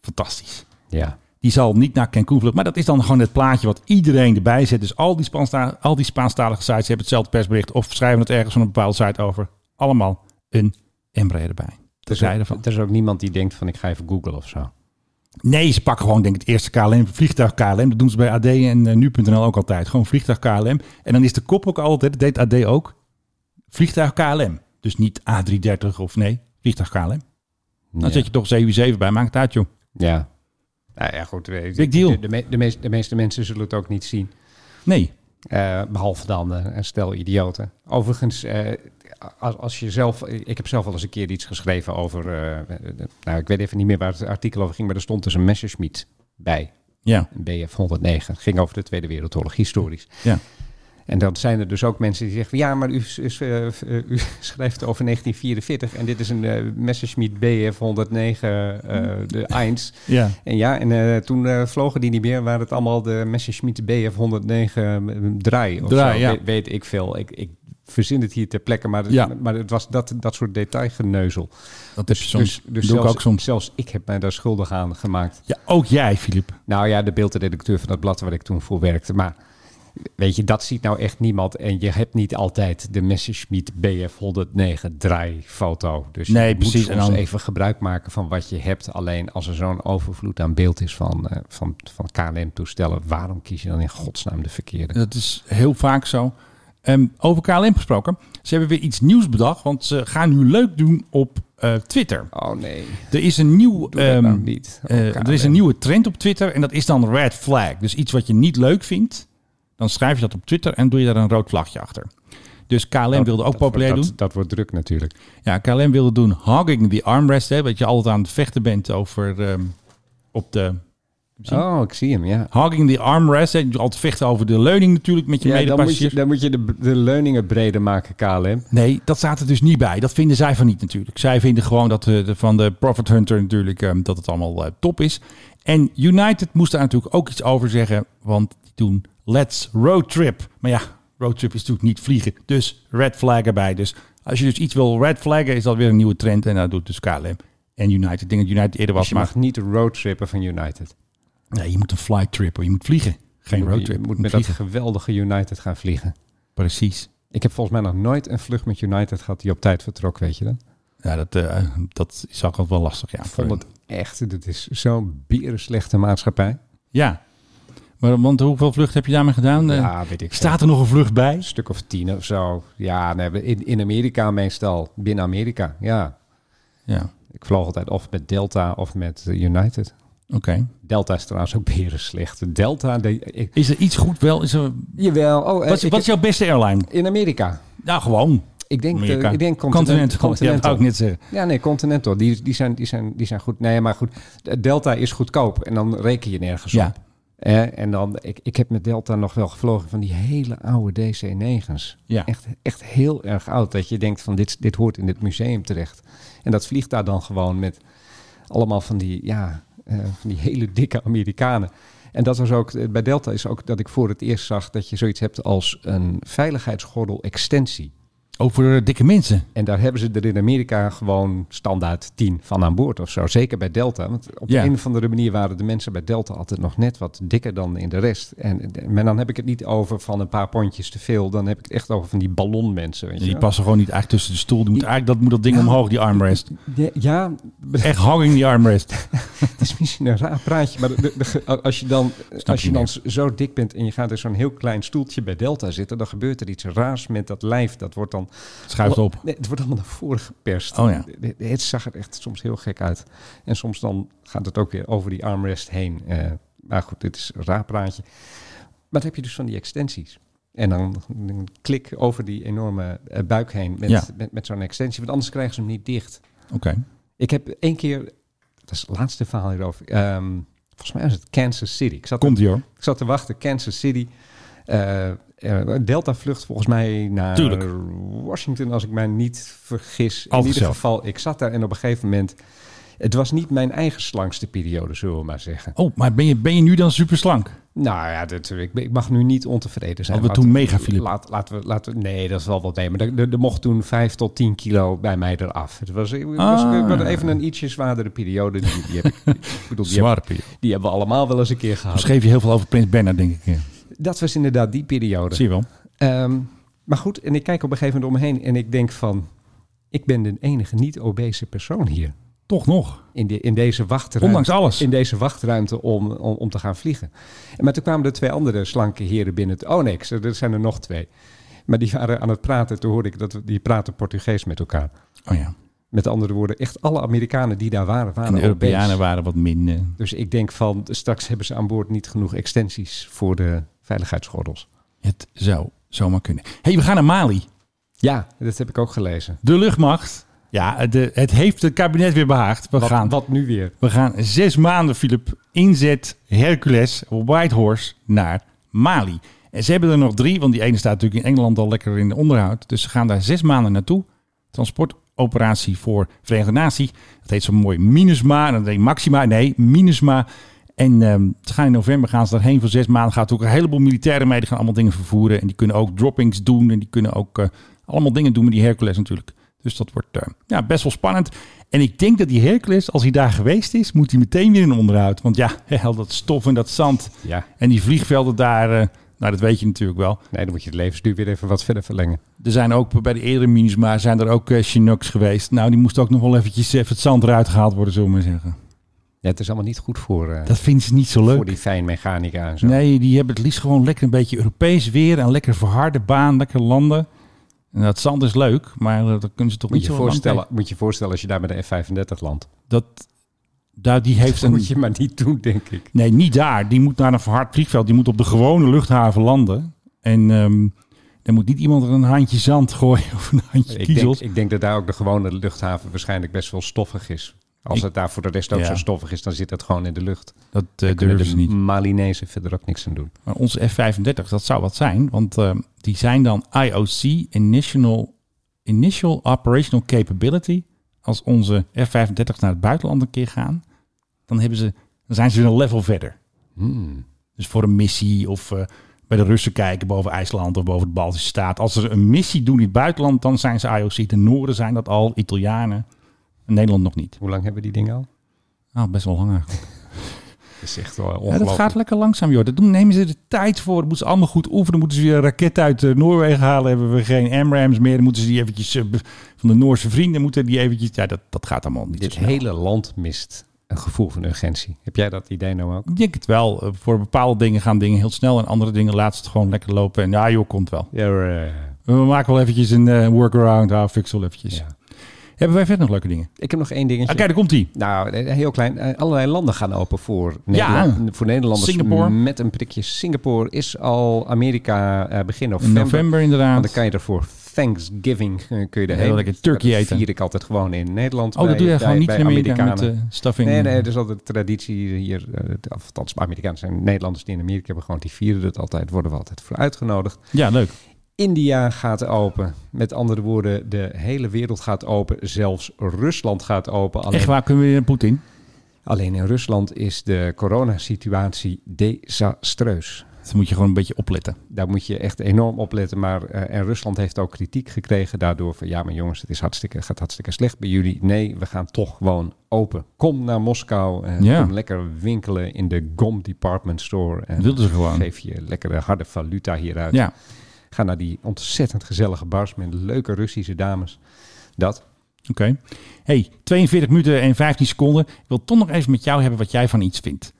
Speaker 1: Fantastisch.
Speaker 2: Ja.
Speaker 1: Die zal niet naar Cancún vluchten. Maar dat is dan gewoon het plaatje wat iedereen erbij zet. Dus al die, Spaansta al die Spaanstalige sites hebben hetzelfde persbericht. Of schrijven het ergens van een bepaalde site over. Allemaal een Embraer erbij.
Speaker 2: Er is,
Speaker 1: Terzijde
Speaker 2: ook,
Speaker 1: van.
Speaker 2: er is ook niemand die denkt van ik ga even googlen of zo.
Speaker 1: Nee, ze pakken gewoon denk ik het eerste KLM, vliegtuig KLM. Dat doen ze bij AD en eh, nu.nl ook altijd. Gewoon vliegtuig KLM. En dan is de kop ook altijd, dat deed AD ook, vliegtuig KLM. Dus niet A330 of nee, vliegtuig KLM. Dan
Speaker 2: ja.
Speaker 1: zet je toch 77 bij, maakt het uit joh.
Speaker 2: Ja. Nou ja, goed. eh,
Speaker 1: Big deal.
Speaker 2: De, de, me- de meest- de meeste mensen zullen het ook niet zien.
Speaker 1: Nee,
Speaker 2: Eh, behalve dan eh, een stel idioten. Overigens, eh, als, als je zelf... Ik heb zelf al eens een keer iets geschreven over... eh, eh, nou, ik weet even niet meer waar het artikel over ging... maar er stond dus een Messerschmitt bij.
Speaker 1: ja.
Speaker 2: Een BF-109. Ging over de Tweede Wereldoorlog, historisch.
Speaker 1: Ja.
Speaker 2: En dan zijn er dus ook mensen die zeggen: van, ja, maar u, s- s- eh, v- eh, u *laughs* schrijft over 1944 en dit is een eh, Messerschmitt BF 109, eh, de 1.
Speaker 1: Ja.
Speaker 2: En ja, en eh, toen eh, vlogen die niet meer, waren het allemaal de Messerschmitt BF 109 draai. Of
Speaker 1: Draai,
Speaker 2: zo.
Speaker 1: ja.
Speaker 2: Weet, weet ik veel. Ik, ik verzin het hier ter plekke, maar,
Speaker 1: Ja.
Speaker 2: maar het was dat, dat soort detailgeneuzel.
Speaker 1: Dat heb je soms.
Speaker 2: dus dus
Speaker 1: doe
Speaker 2: zelfs,
Speaker 1: ik ook soms.
Speaker 2: zelfs ik heb mij daar schuldig aan gemaakt.
Speaker 1: Ja, ook jij, Filip.
Speaker 2: Nou ja, de beeldredacteur van dat blad waar ik toen voor werkte. Maar weet je, dat ziet nou echt niemand. En je hebt niet altijd de Messerschmitt BF 109 draaifoto. Dus
Speaker 1: Nee,
Speaker 2: je
Speaker 1: precies.
Speaker 2: moet
Speaker 1: En
Speaker 2: soms
Speaker 1: dan-
Speaker 2: even gebruik maken van wat je hebt. Alleen als er zo'n overvloed aan beeld is van, eh, van, van KLM-toestellen... waarom kies je dan in godsnaam de verkeerde?
Speaker 1: Dat is heel vaak zo. Ehm, over KLM gesproken. Ze hebben weer iets nieuws bedacht. Want ze gaan nu leuk doen op eh, Twitter.
Speaker 2: Oh nee,
Speaker 1: Er is een nieuw.
Speaker 2: doe dat nou
Speaker 1: ehm,
Speaker 2: niet. Oh,
Speaker 1: eh, er is
Speaker 2: KLM.
Speaker 1: een nieuwe trend op Twitter en dat is dan red flag. Dus iets wat je niet leuk vindt, dan schrijf je dat op Twitter en doe je daar een rood vlagje achter. Dus KLM wilde ook
Speaker 2: Dat wordt-
Speaker 1: populair
Speaker 2: dat,
Speaker 1: doen.
Speaker 2: Dat wordt druk natuurlijk.
Speaker 1: Ja, KLM wilde doen hogging the armrest. Hè, dat je altijd aan het vechten bent over ehm, op de... Zie-
Speaker 2: Oh, ik zie hem, ja.
Speaker 1: Hogging the armrest. Hè, je altijd vechten over de leuning natuurlijk met je
Speaker 2: Ja, dan moet je,
Speaker 1: medepassagiers.
Speaker 2: dan moet je de, de leuningen breder maken, KLM.
Speaker 1: Nee, dat staat er dus niet bij. Dat vinden zij van niet natuurlijk. Zij vinden gewoon dat eh, de, van de Profit Hunter natuurlijk ehm, dat het allemaal eh, top is. En United moest daar natuurlijk ook iets over zeggen. Want die doen let's road trip. Maar ja, road trip is natuurlijk niet vliegen. Dus red flag erbij. Dus als je dus iets wil red flaggen, is dat weer een nieuwe trend. En dat doet dus KLM en United. Ik denk dat United eerder
Speaker 2: Dus
Speaker 1: was.
Speaker 2: je
Speaker 1: maar
Speaker 2: mag niet roadtrippen van United.
Speaker 1: nee, je moet een flight trip. hoor. Je moet vliegen. Geen
Speaker 2: Je moet-
Speaker 1: road trip.
Speaker 2: Je moet
Speaker 1: Je
Speaker 2: met dat
Speaker 1: vliegen.
Speaker 2: geweldige United gaan vliegen.
Speaker 1: Precies.
Speaker 2: Ik heb volgens mij nog nooit een vlucht met United gehad die op tijd vertrok, weet je dat?
Speaker 1: Ja, dat, eh, dat is ook altijd wel lastig. Ja,
Speaker 2: Ik
Speaker 1: voor
Speaker 2: vond het echt, dit is zo'n slechte maatschappij.
Speaker 1: Ja. Maar, want hoeveel vlucht heb je daarmee gedaan? Eh,
Speaker 2: Ja, weet ik veel.
Speaker 1: Staat er nog een vlucht bij?
Speaker 2: Een stuk of tien of zo. Ja, nee, in, in Amerika meestal. Binnen Amerika, ja.
Speaker 1: Ja,
Speaker 2: Ik vloog altijd of met Delta of met eh, United.
Speaker 1: oké.
Speaker 2: Delta is trouwens ook *laughs* slecht. Delta, de, ik-
Speaker 1: Is er iets goed wel? Is er,
Speaker 2: jawel. Oh, eh,
Speaker 1: wat, is-
Speaker 2: ik-
Speaker 1: wat is jouw beste airline?
Speaker 2: in Amerika.
Speaker 1: Nou, gewoon.
Speaker 2: Ik denk, eh,
Speaker 1: Amerika.
Speaker 2: ik denk
Speaker 1: Continental.
Speaker 2: continent,
Speaker 1: Ja, dat wou ik net zeggen.
Speaker 2: Ja, nee, Continental. Die, die, zijn, die, zijn, die zijn goed. Nee, maar goed. Delta is goedkoop en dan reken je nergens
Speaker 1: Ja.
Speaker 2: op. Eh, en dan, ik, ik heb met Delta nog wel gevlogen van die hele oude DC-9's.
Speaker 1: Ja.
Speaker 2: Echt, echt heel erg oud. Dat je denkt van dit, dit hoort in dit museum terecht. En dat vliegt daar dan gewoon met allemaal van die, ja, eh, van die hele dikke Amerikanen. En dat was ook, eh, bij Delta is ook dat ik voor het eerst zag dat je zoiets hebt als een veiligheidsgordel-extensie.
Speaker 1: Over eh, dikke mensen.
Speaker 2: En daar hebben ze er in Amerika gewoon standaard 10 van aan boord of zo. Zeker bij Delta. Want op
Speaker 1: Ja.
Speaker 2: de een of andere manier waren de mensen bij Delta altijd nog net wat dikker dan in de rest. En, maar dan heb ik het niet over van een paar pondjes te veel. Dan heb ik het echt over van die ballonmensen. Weet je
Speaker 1: Die
Speaker 2: wel.
Speaker 1: passen gewoon niet eigenlijk tussen de stoel. Die moet, eigenlijk, dat moet dat ding omhoog, die *laughs* armrest.
Speaker 2: Ja, ja,
Speaker 1: Echt hanging die armrest.
Speaker 2: het is misschien een raar praatje. Maar de- de- de- als je dan, als je
Speaker 1: niet
Speaker 2: dan zo dik bent en je gaat in zo'n heel klein stoeltje bij Delta zitten. Dan gebeurt er iets raars met dat lijf. Dat wordt dan
Speaker 1: Schuift op.
Speaker 2: Nee, het wordt allemaal naar voren geperst.
Speaker 1: Oh ja.
Speaker 2: Het- Het zag er echt soms heel gek uit. En soms dan gaat het ook weer over die armrest heen. Eh, maar goed, dit is een raar praatje. Maar dan heb je dus van die extensies. En dan een klik over die enorme eh, buik heen met,
Speaker 1: Ja.
Speaker 2: met, met zo'n extensie. Want anders krijgen ze hem niet dicht.
Speaker 1: Oké.
Speaker 2: Ik heb één keer, dat is het laatste verhaal hierover. ehm, volgens mij was het Kansas City. Ik zat
Speaker 1: Komt ie hoor.
Speaker 2: ik zat te wachten, Kansas City. Eh, eh, Delta vlucht volgens mij naar
Speaker 1: Tuurlijk.
Speaker 2: Washington, als ik mij niet vergis.
Speaker 1: Altijd
Speaker 2: In ieder
Speaker 1: zelf.
Speaker 2: geval, ik zat daar en op een gegeven moment... Het was niet mijn eigen slangste periode, zullen we maar zeggen.
Speaker 1: Oh, maar ben je, ben je nu dan super slank?
Speaker 2: Nou ja, dat, ik, ik mag nu niet ontevreden zijn.
Speaker 1: Hadden we
Speaker 2: Laten-
Speaker 1: toen mega, Philip?
Speaker 2: Laat, laten we, laten we, nee, dat is wel wat nee. Maar er- er er mocht toen 5 tot 10 kilo bij mij eraf. Het was, het was
Speaker 1: Ah.
Speaker 2: het was even een ietsje zwaardere periode. Die, die heb ik, ik bedoel, die, heb,
Speaker 1: Zwarpje.
Speaker 2: die hebben we allemaal wel eens een keer gehad.
Speaker 1: Schreef je heel veel over Prins Bernhard, denk ik. eh.
Speaker 2: Dat was inderdaad die periode.
Speaker 1: Zie je wel.
Speaker 2: Ehm, maar goed, en ik kijk op een gegeven moment om me heen en ik denk van... ik ben de enige niet-obese persoon hier.
Speaker 1: Toch nog.
Speaker 2: In, de, in, deze wachtruimte,
Speaker 1: Ondanks alles.
Speaker 2: in deze wachtruimte om, om, om te gaan vliegen. Maar toen kwamen er twee andere slanke heren binnen. Oh nee, ik zei, er zijn er nog twee. Maar die waren aan het praten. Toen hoorde ik dat we- die praten Portugees met elkaar.
Speaker 1: Oh ja.
Speaker 2: Met andere woorden, echt alle Amerikanen die daar waren,
Speaker 1: En
Speaker 2: waren
Speaker 1: de Europeanen
Speaker 2: obese.
Speaker 1: waren wat minder.
Speaker 2: Dus ik denk van, straks hebben ze aan boord niet genoeg extensies voor de veiligheidsgordels.
Speaker 1: Het zou zomaar kunnen. hey, we gaan naar Mali.
Speaker 2: Ja, dat heb ik ook gelezen.
Speaker 1: De luchtmacht. Ja, de, het heeft het kabinet weer behaagd. We, gaan,
Speaker 2: Wat, wat nu weer?
Speaker 1: we gaan zes maanden, Philip, inzet Hercules Whitehorse naar Mali. En ze hebben er nog drie, want die ene staat natuurlijk in Engeland al lekker in de onderhoud. Dus ze gaan daar zes maanden naartoe. Transportoperatie voor Verenigde Natie. Dat heet zo mooi Minusma. En dat heet Maxima. Nee, Minusma. En ehm, ze gaan in november gaan ze daarheen voor zes maanden. Gaat ook een heleboel militairen mee. Die gaan allemaal dingen vervoeren. En die kunnen ook droppings doen. En die kunnen ook eh, allemaal dingen doen met die Hercules natuurlijk. Dus dat wordt eh, ja, best wel spannend. En ik denk dat die Hercules, als hij daar geweest is, moet hij meteen weer in onderhoud. Want ja, *laughs* al dat stof en dat zand.
Speaker 2: Ja,
Speaker 1: En die vliegvelden daar, eh, nou dat weet je natuurlijk wel.
Speaker 2: nee, dan moet je het levensduur weer even wat verder verlengen.
Speaker 1: Er zijn ook bij de eerdere Minusma zijn er ook eh, Chinooks geweest. Nou, die moesten ook nog wel eventjes eh, even het zand eruit gehaald worden, zullen we maar zeggen.
Speaker 2: Ja, het is allemaal niet goed voor, eh,
Speaker 1: Dat vinden ze niet zo leuk.
Speaker 2: voor die fijnmechanica en zo.
Speaker 1: Nee, die hebben het liefst gewoon lekker een beetje Europees weer en lekker verharde baan, lekker landen. En dat zand is leuk, maar eh, dat kunnen ze toch
Speaker 2: Moet
Speaker 1: niet
Speaker 2: je,
Speaker 1: zo lang
Speaker 2: voorstellen, moet je voorstellen als je daar met de F-35 landt.
Speaker 1: tegen- Dat, daar, die heeft
Speaker 2: *laughs* Dat
Speaker 1: een,
Speaker 2: moet je maar niet doen, denk ik.
Speaker 1: Nee, niet daar. Die moet naar een verhard vliegveld. Die moet op de gewone luchthaven landen. En ehm dan moet niet iemand er een handje zand gooien *laughs* of een handje
Speaker 2: Ik denk,
Speaker 1: kiezels.
Speaker 2: ik denk dat daar ook de gewone luchthaven waarschijnlijk best wel stoffig is. Als
Speaker 1: Ik-
Speaker 2: het daar voor de rest ook
Speaker 1: Ja.
Speaker 2: zo stoffig is, dan zit dat gewoon in de lucht.
Speaker 1: Dat eh
Speaker 2: Kunnen
Speaker 1: durven ze
Speaker 2: de
Speaker 1: niet.
Speaker 2: Malinezen verder ook niks aan doen.
Speaker 1: Maar onze F-35, dat zou wat zijn. Want ehm, die zijn dan IOC, Initial, Initial Operational Capability. Als onze F-35 naar het buitenland een keer gaan, dan, hebben ze, dan zijn ze weer een level verder.
Speaker 2: Hmm.
Speaker 1: Dus voor een missie of eh, bij de Russen kijken boven IJsland of boven de Baltische staat. Als ze een missie doen in het buitenland, dan zijn ze IOC. De Noorden zijn dat al, Italianen. En Nederland nog niet.
Speaker 2: Hoe lang hebben die dingen al?
Speaker 1: Nou, best wel lang eigenlijk.
Speaker 2: Dat is echt wel
Speaker 1: Ja,
Speaker 2: ongelooflijk.
Speaker 1: dat gaat lekker langzaam, joh. Dat doen, nemen ze de tijd voor. Dat moeten ze allemaal goed oefenen. Dan moeten ze weer een raket uit eh, Noorwegen halen. Hebben we geen AMRAMs meer. Dan moeten ze die eventjes eh, be- van de Noorse vrienden moeten die eventjes... Ja, dat, dat gaat allemaal niet
Speaker 2: Dit
Speaker 1: zo snel.
Speaker 2: hele land mist een gevoel van urgentie. Heb jij dat idee nou ook?
Speaker 1: Ik denk het wel. Eh, Voor bepaalde dingen gaan dingen heel snel. En andere dingen laat ze het gewoon lekker lopen. En ja, joh, komt wel.
Speaker 2: Ja,
Speaker 1: We maken wel eventjes een eh, workaround. Ah, fix wel eventjes. Hebben wij verder nog leuke dingen?
Speaker 2: Ik heb nog één
Speaker 1: Ah,
Speaker 2: dingetje.
Speaker 1: kijk, daar komt die.
Speaker 2: Nou, eh, heel klein. Eh, Allerlei landen gaan open voor, Nederland, voor Nederlanders.
Speaker 1: Ah. Singapore.
Speaker 2: Met een prikje. Singapore is al Amerika eh, begin
Speaker 1: In
Speaker 2: november.
Speaker 1: november inderdaad.
Speaker 2: Want dan kan je er voor Thanksgiving eh, kun je
Speaker 1: Heel
Speaker 2: erheen.
Speaker 1: lekker turkey
Speaker 2: dat
Speaker 1: eten.
Speaker 2: vier ik altijd gewoon in Nederland.
Speaker 1: oh, dat
Speaker 2: bij-
Speaker 1: doe je
Speaker 2: bij-
Speaker 1: gewoon niet
Speaker 2: bij
Speaker 1: in Amerika met
Speaker 2: Amerikanen.
Speaker 1: eh stuffing.
Speaker 2: Nee, nee, dat is altijd de traditie hier. eh, of Althans, Amerikanen zijn Nederlanders die in Amerika hebben gewoon, die vieren het altijd, worden we altijd voor uitgenodigd.
Speaker 1: Ja, leuk.
Speaker 2: India gaat open. Met andere woorden, de hele wereld gaat open. Zelfs Rusland gaat open. Alleen,
Speaker 1: Echt waar, kunnen we weer naar Poetin?
Speaker 2: alleen in Rusland is de coronasituatie desastreus.
Speaker 1: Dan moet je gewoon een beetje opletten.
Speaker 2: Daar moet je echt enorm op letten. Maar, eh, en Rusland heeft ook kritiek gekregen daardoor van... ja, maar jongens, het is hartstikke, gaat hartstikke slecht bij jullie. Nee, we gaan toch gewoon open. Kom naar Moskou. eh,
Speaker 1: Ja.
Speaker 2: Kom lekker winkelen in de GOM Department Store. En
Speaker 1: Dat wilden ze gewoon.
Speaker 2: Geef je lekkere harde valuta hieruit.
Speaker 1: Ja, oké.
Speaker 2: Ga naar die ontzettend gezellige bars met leuke Russische dames. Dat.
Speaker 1: hey, 42 minuten en 15 seconden. Ik wil toch nog even met jou hebben wat jij van iets vindt.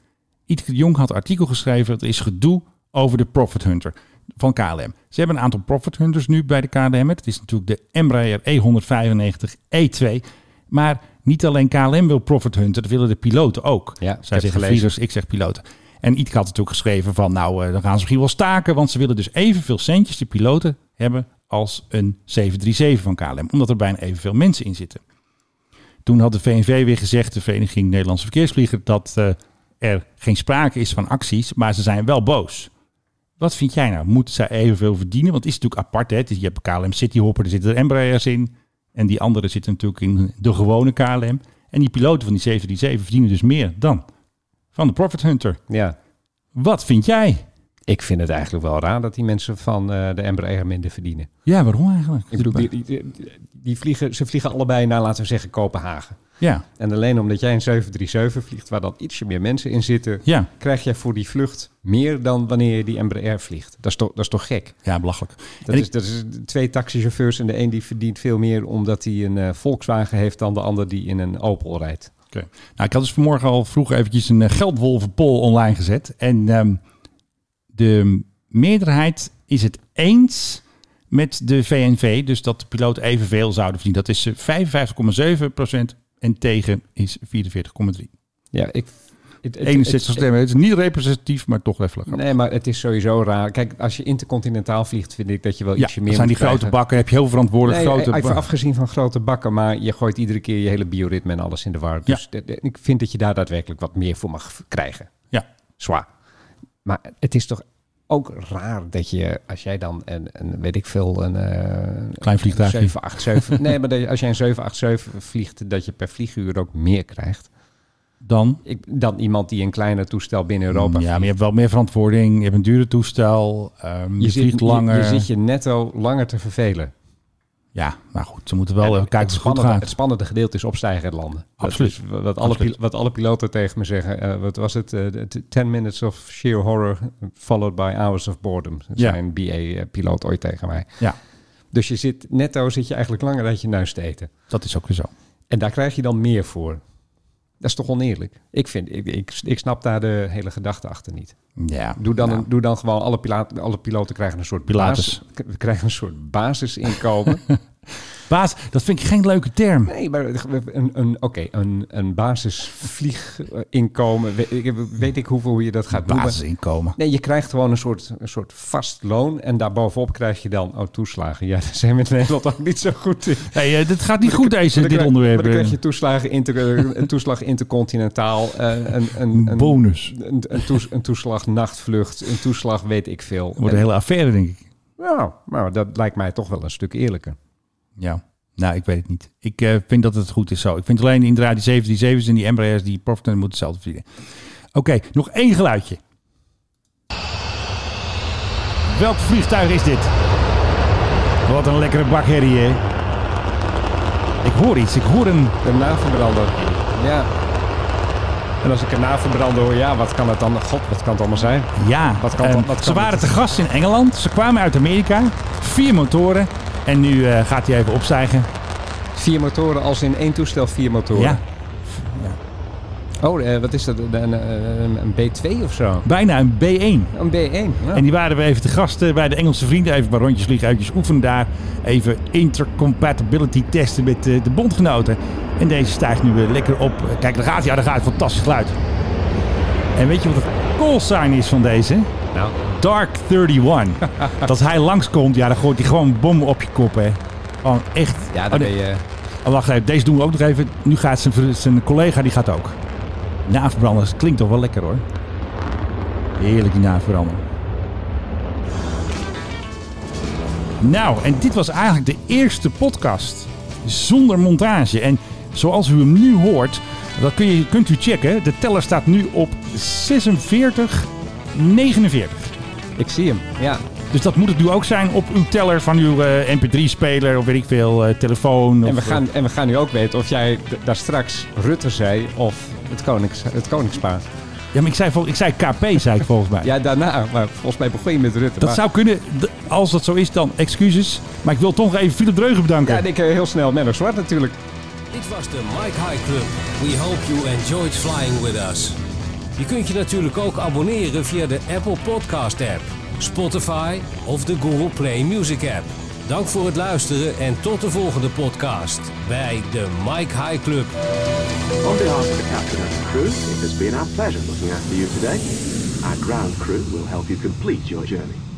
Speaker 1: Ietke de Jong had een artikel geschreven. Het is gedoe over de Profit Hunter van KLM. Ze hebben een aantal Profit Hunters nu bij de KLM. Het is natuurlijk de Embraer E E195 E2. Maar niet alleen KLM wil Profit Hunter, dat willen de piloten ook.
Speaker 2: Ja, ik heb
Speaker 1: Zij
Speaker 2: het
Speaker 1: zeggen
Speaker 2: gelezen.
Speaker 1: vliegers, ik zeg piloten. En Ietke had natuurlijk geschreven van nou, eh, dan gaan ze misschien wel staken. Want ze willen dus evenveel centjes die piloten hebben als een 737 van KLM. Omdat er bijna evenveel mensen in zitten. Toen had de VNV weer gezegd, de Vereniging Nederlandse Verkeersvliegers, dat eh, er geen sprake is van acties, maar ze zijn wel boos. Wat vind jij nou? Moeten zij evenveel verdienen? Want het is natuurlijk apart. Hè? Het is- Je hebt KLM Cityhopper, er zitten er Embraers in. En die andere zitten natuurlijk in de gewone KLM. En die piloten van die 737 verdienen dus meer dan van de Profit Hunter.
Speaker 2: Ja.
Speaker 1: Wat vind jij?
Speaker 2: Ik vind het eigenlijk wel raar dat die mensen van eh, de Embraer minder verdienen.
Speaker 1: Ja, waarom eigenlijk?
Speaker 2: Ik bedoel, die, die, die- die vliegen, ze vliegen allebei naar, laten we zeggen, Kopenhagen.
Speaker 1: Ja,
Speaker 2: En alleen omdat jij een 737 vliegt, waar dan ietsje meer mensen in zitten,
Speaker 1: ja.
Speaker 2: krijg jij voor die vlucht meer dan wanneer je die Embraer vliegt. Dat is toch, dat is toch gek?
Speaker 1: ja belachelijk.
Speaker 2: Dat
Speaker 1: En
Speaker 2: is, dat is twee taxichauffeurs en de een die verdient veel meer omdat hij een eh, Volkswagen heeft dan de ander die in een Opel rijdt.
Speaker 1: Oké. Nou, ik had dus vanmorgen al vroeg eventjes een eh, geldwolvenpoll online gezet. En ehm, de meerderheid is het eens met de VNV. Dus dat de piloot evenveel zouden verdienen. Dat is eh, 55,7 En tegen is 44,3.
Speaker 2: Ja, ik... het- het-
Speaker 1: 61
Speaker 2: het-
Speaker 1: stemmen. Het is niet representatief, maar toch even lekker.
Speaker 2: Nee, maar het is sowieso raar. Kijk, als je intercontinentaal vliegt, vind ik dat je wel
Speaker 1: Ja,
Speaker 2: ietsje meer
Speaker 1: dat zijn die
Speaker 2: moet
Speaker 1: grote
Speaker 2: krijgen.
Speaker 1: bakken. Heb je heel verantwoordelijk
Speaker 2: Nee,
Speaker 1: grote
Speaker 2: even
Speaker 1: ba-
Speaker 2: afgezien van grote bakken, maar je gooit iedere keer je hele bioritme en alles in de war. Dus de- de- ik vind dat je daar daadwerkelijk wat meer voor mag v- krijgen.
Speaker 1: Ja.
Speaker 2: Zwaar. Maar het is toch ook raar dat je, als jij dan een, een weet ik veel, een, eh,
Speaker 1: Klein vliegtuigje.
Speaker 2: een
Speaker 1: *laughs*
Speaker 2: 787. nee, maar dat je- als jij een 787 vliegt, dat je per vlieguur ook meer krijgt.
Speaker 1: Dan?
Speaker 2: Ik, dan iemand die een kleiner toestel binnen Europa
Speaker 1: Mm, Ja, maar je
Speaker 2: vliegt.
Speaker 1: hebt wel meer verantwoording. Je hebt een duurder toestel. ehm, je,
Speaker 2: zit-
Speaker 1: vliegt langer.
Speaker 2: Je, je zit je netto langer te ververen.
Speaker 1: Ja, maar goed. Ze moeten wel
Speaker 2: En
Speaker 1: even kijken
Speaker 2: het,
Speaker 1: of het goed
Speaker 2: spannende,
Speaker 1: gaat.
Speaker 2: het spannende gedeelte is opstijgen en landen. Dat
Speaker 1: Absoluut.
Speaker 2: is wat, alle
Speaker 1: Absoluut.
Speaker 2: pil- wat alle piloten tegen me zeggen. Eh, wat was het? Eh, de- de 10 minutes of sheer horror followed by hours of boredom. Dat
Speaker 1: Ja.
Speaker 2: zei een BA-piloot ooit tegen mij.
Speaker 1: Ja,
Speaker 2: Dus je zit, netto zit je eigenlijk langer uit je neus te eten.
Speaker 1: dat is ook weer zo.
Speaker 2: En daar krijg je dan meer voor. Dat is toch oneerlijk? Ik, vind, ik, ik, ik snap daar de hele gedachte achter niet.
Speaker 1: Ja.
Speaker 2: Doe dan,
Speaker 1: Nou,
Speaker 2: een- doe dan gewoon, alle, pila- alle piloten krijgen een soort
Speaker 1: Pilates.
Speaker 2: basis- k- krijgen een soort basisinkomen.
Speaker 1: Baas, dat vind ik geen leuke term.
Speaker 2: nee, maar een, een, oké, een, een basisvlieginkomen. Weet, ik- weet ik hoeveel je dat gaat noemen.
Speaker 1: Basisinkomen.
Speaker 2: Nee, je krijgt gewoon een soort, een soort vast loon. En daarbovenop krijg je dan oh, toeslagen. Ja, *laughs* daar zijn we in Nederland ook niet zo goed in.
Speaker 1: Nee, eh, dit gaat niet goed, deze,
Speaker 2: Maar
Speaker 1: dit
Speaker 2: dan krijg-
Speaker 1: onderwerp. eh.
Speaker 2: maar Dan krijg je toeslagen inter, eh, een toeslag intercontinentaal. eh, Een, een,
Speaker 1: een
Speaker 2: een,
Speaker 1: bonus.
Speaker 2: Een, een, toes- een toeslag nachtvlucht. Een toeslag weet ik veel.
Speaker 1: Dat wordt een hele affaire, denk ik.
Speaker 2: Nou, maar dat lijkt mij toch wel een stuk eerlijker.
Speaker 1: Ja. Nou, ik weet het niet. Ik eh, vind dat het goed is zo. Ik vind alleen inderdaad die 737's en die Embraers, die profiten moeten hetzelfde verdienen. Oké, nog één geluidje. Welk vliegtuig is dit? Wat een lekkere bakherrie, hè? Ik hoor iets. Ik hoor een...
Speaker 2: Een navelbrander. Ja. En als ik een navelbrander hoor, ja, wat kan het dan? God, wat kan het allemaal zijn?
Speaker 1: Ja,
Speaker 2: Wat kan
Speaker 1: ehm,
Speaker 2: dat- wat kan
Speaker 1: ze waren
Speaker 2: dat?
Speaker 1: te gast in Engeland. Ze kwamen uit Amerika. Vier motoren. En nu eh, gaat hij even opstijgen.
Speaker 2: Vier motoren, als in één toestel vier motoren.
Speaker 1: Ja,
Speaker 2: Oh, eh, wat is dat? Een, een, een B2 of zo?
Speaker 1: bijna een B1.
Speaker 2: Een B1. ja.
Speaker 1: En die waren we even te gasten bij de Engelse vrienden. Even een paar rondjes vliegen, uitjes oefenen daar. Even intercompatibility testen met eh, de bondgenoten. En deze stijgt nu weer lekker op. Kijk, daar gaat hij. Ja, daar gaat hij. Fantastisch geluid. En weet je wat het callsign is van deze?
Speaker 2: Nou,
Speaker 1: Dark
Speaker 2: *laughs*
Speaker 1: 31. Dat hij langskomt, ja, dan gooit hij gewoon een bom op je kop, hè. Gewoon echt.
Speaker 2: ja,
Speaker 1: Oh,
Speaker 2: dan
Speaker 1: nee.
Speaker 2: ben je...
Speaker 1: Oh, wacht even, deze doen we ook nog even. Nu gaat zijn, ver- zijn collega, die gaat ook. Naafbrander, dat klinkt toch wel lekker hoor. Heerlijk die naafbrander. Nou, en dit was eigenlijk de eerste podcast zonder montage. En zoals u hem nu hoort, dat kun je, kunt u checken. De teller staat nu op 46, 49.
Speaker 2: eh, Ik zie hem, ja.
Speaker 1: Dus dat moet het nu ook zijn op uw teller van uw eh, mp3-speler of weet ik veel, eh, telefoon.
Speaker 2: En we,
Speaker 1: of, eh,
Speaker 2: gaan, en we gaan nu ook weten of jij d- daar straks Rutte zei of het, konings, het Koningspaar.
Speaker 1: Ja, maar ik zei, vol- ik zei KP, zei ik volgens mij.
Speaker 2: Ja, daarna. Maar volgens mij begon je met Rutte.
Speaker 1: Dat
Speaker 2: maar-
Speaker 1: zou kunnen, D- als dat zo is, dan excuses. Maar ik wil toch nog even Philip Dreugen bedanken.
Speaker 2: Ja, en ik eh, heel snel Menno Zwart natuurlijk.
Speaker 3: Dit was de Mike High Club. We hope you enjoyed flying with us. Je kunt je natuurlijk ook abonneren via de Apple Podcast app, Spotify of de Google Play Music app. Dank voor het luisteren en tot de volgende podcast bij de Mike High Club.
Speaker 5: On behalf of the captain and the crew, it has been our pleasure looking after you today. Our ground crew will help you complete your journey.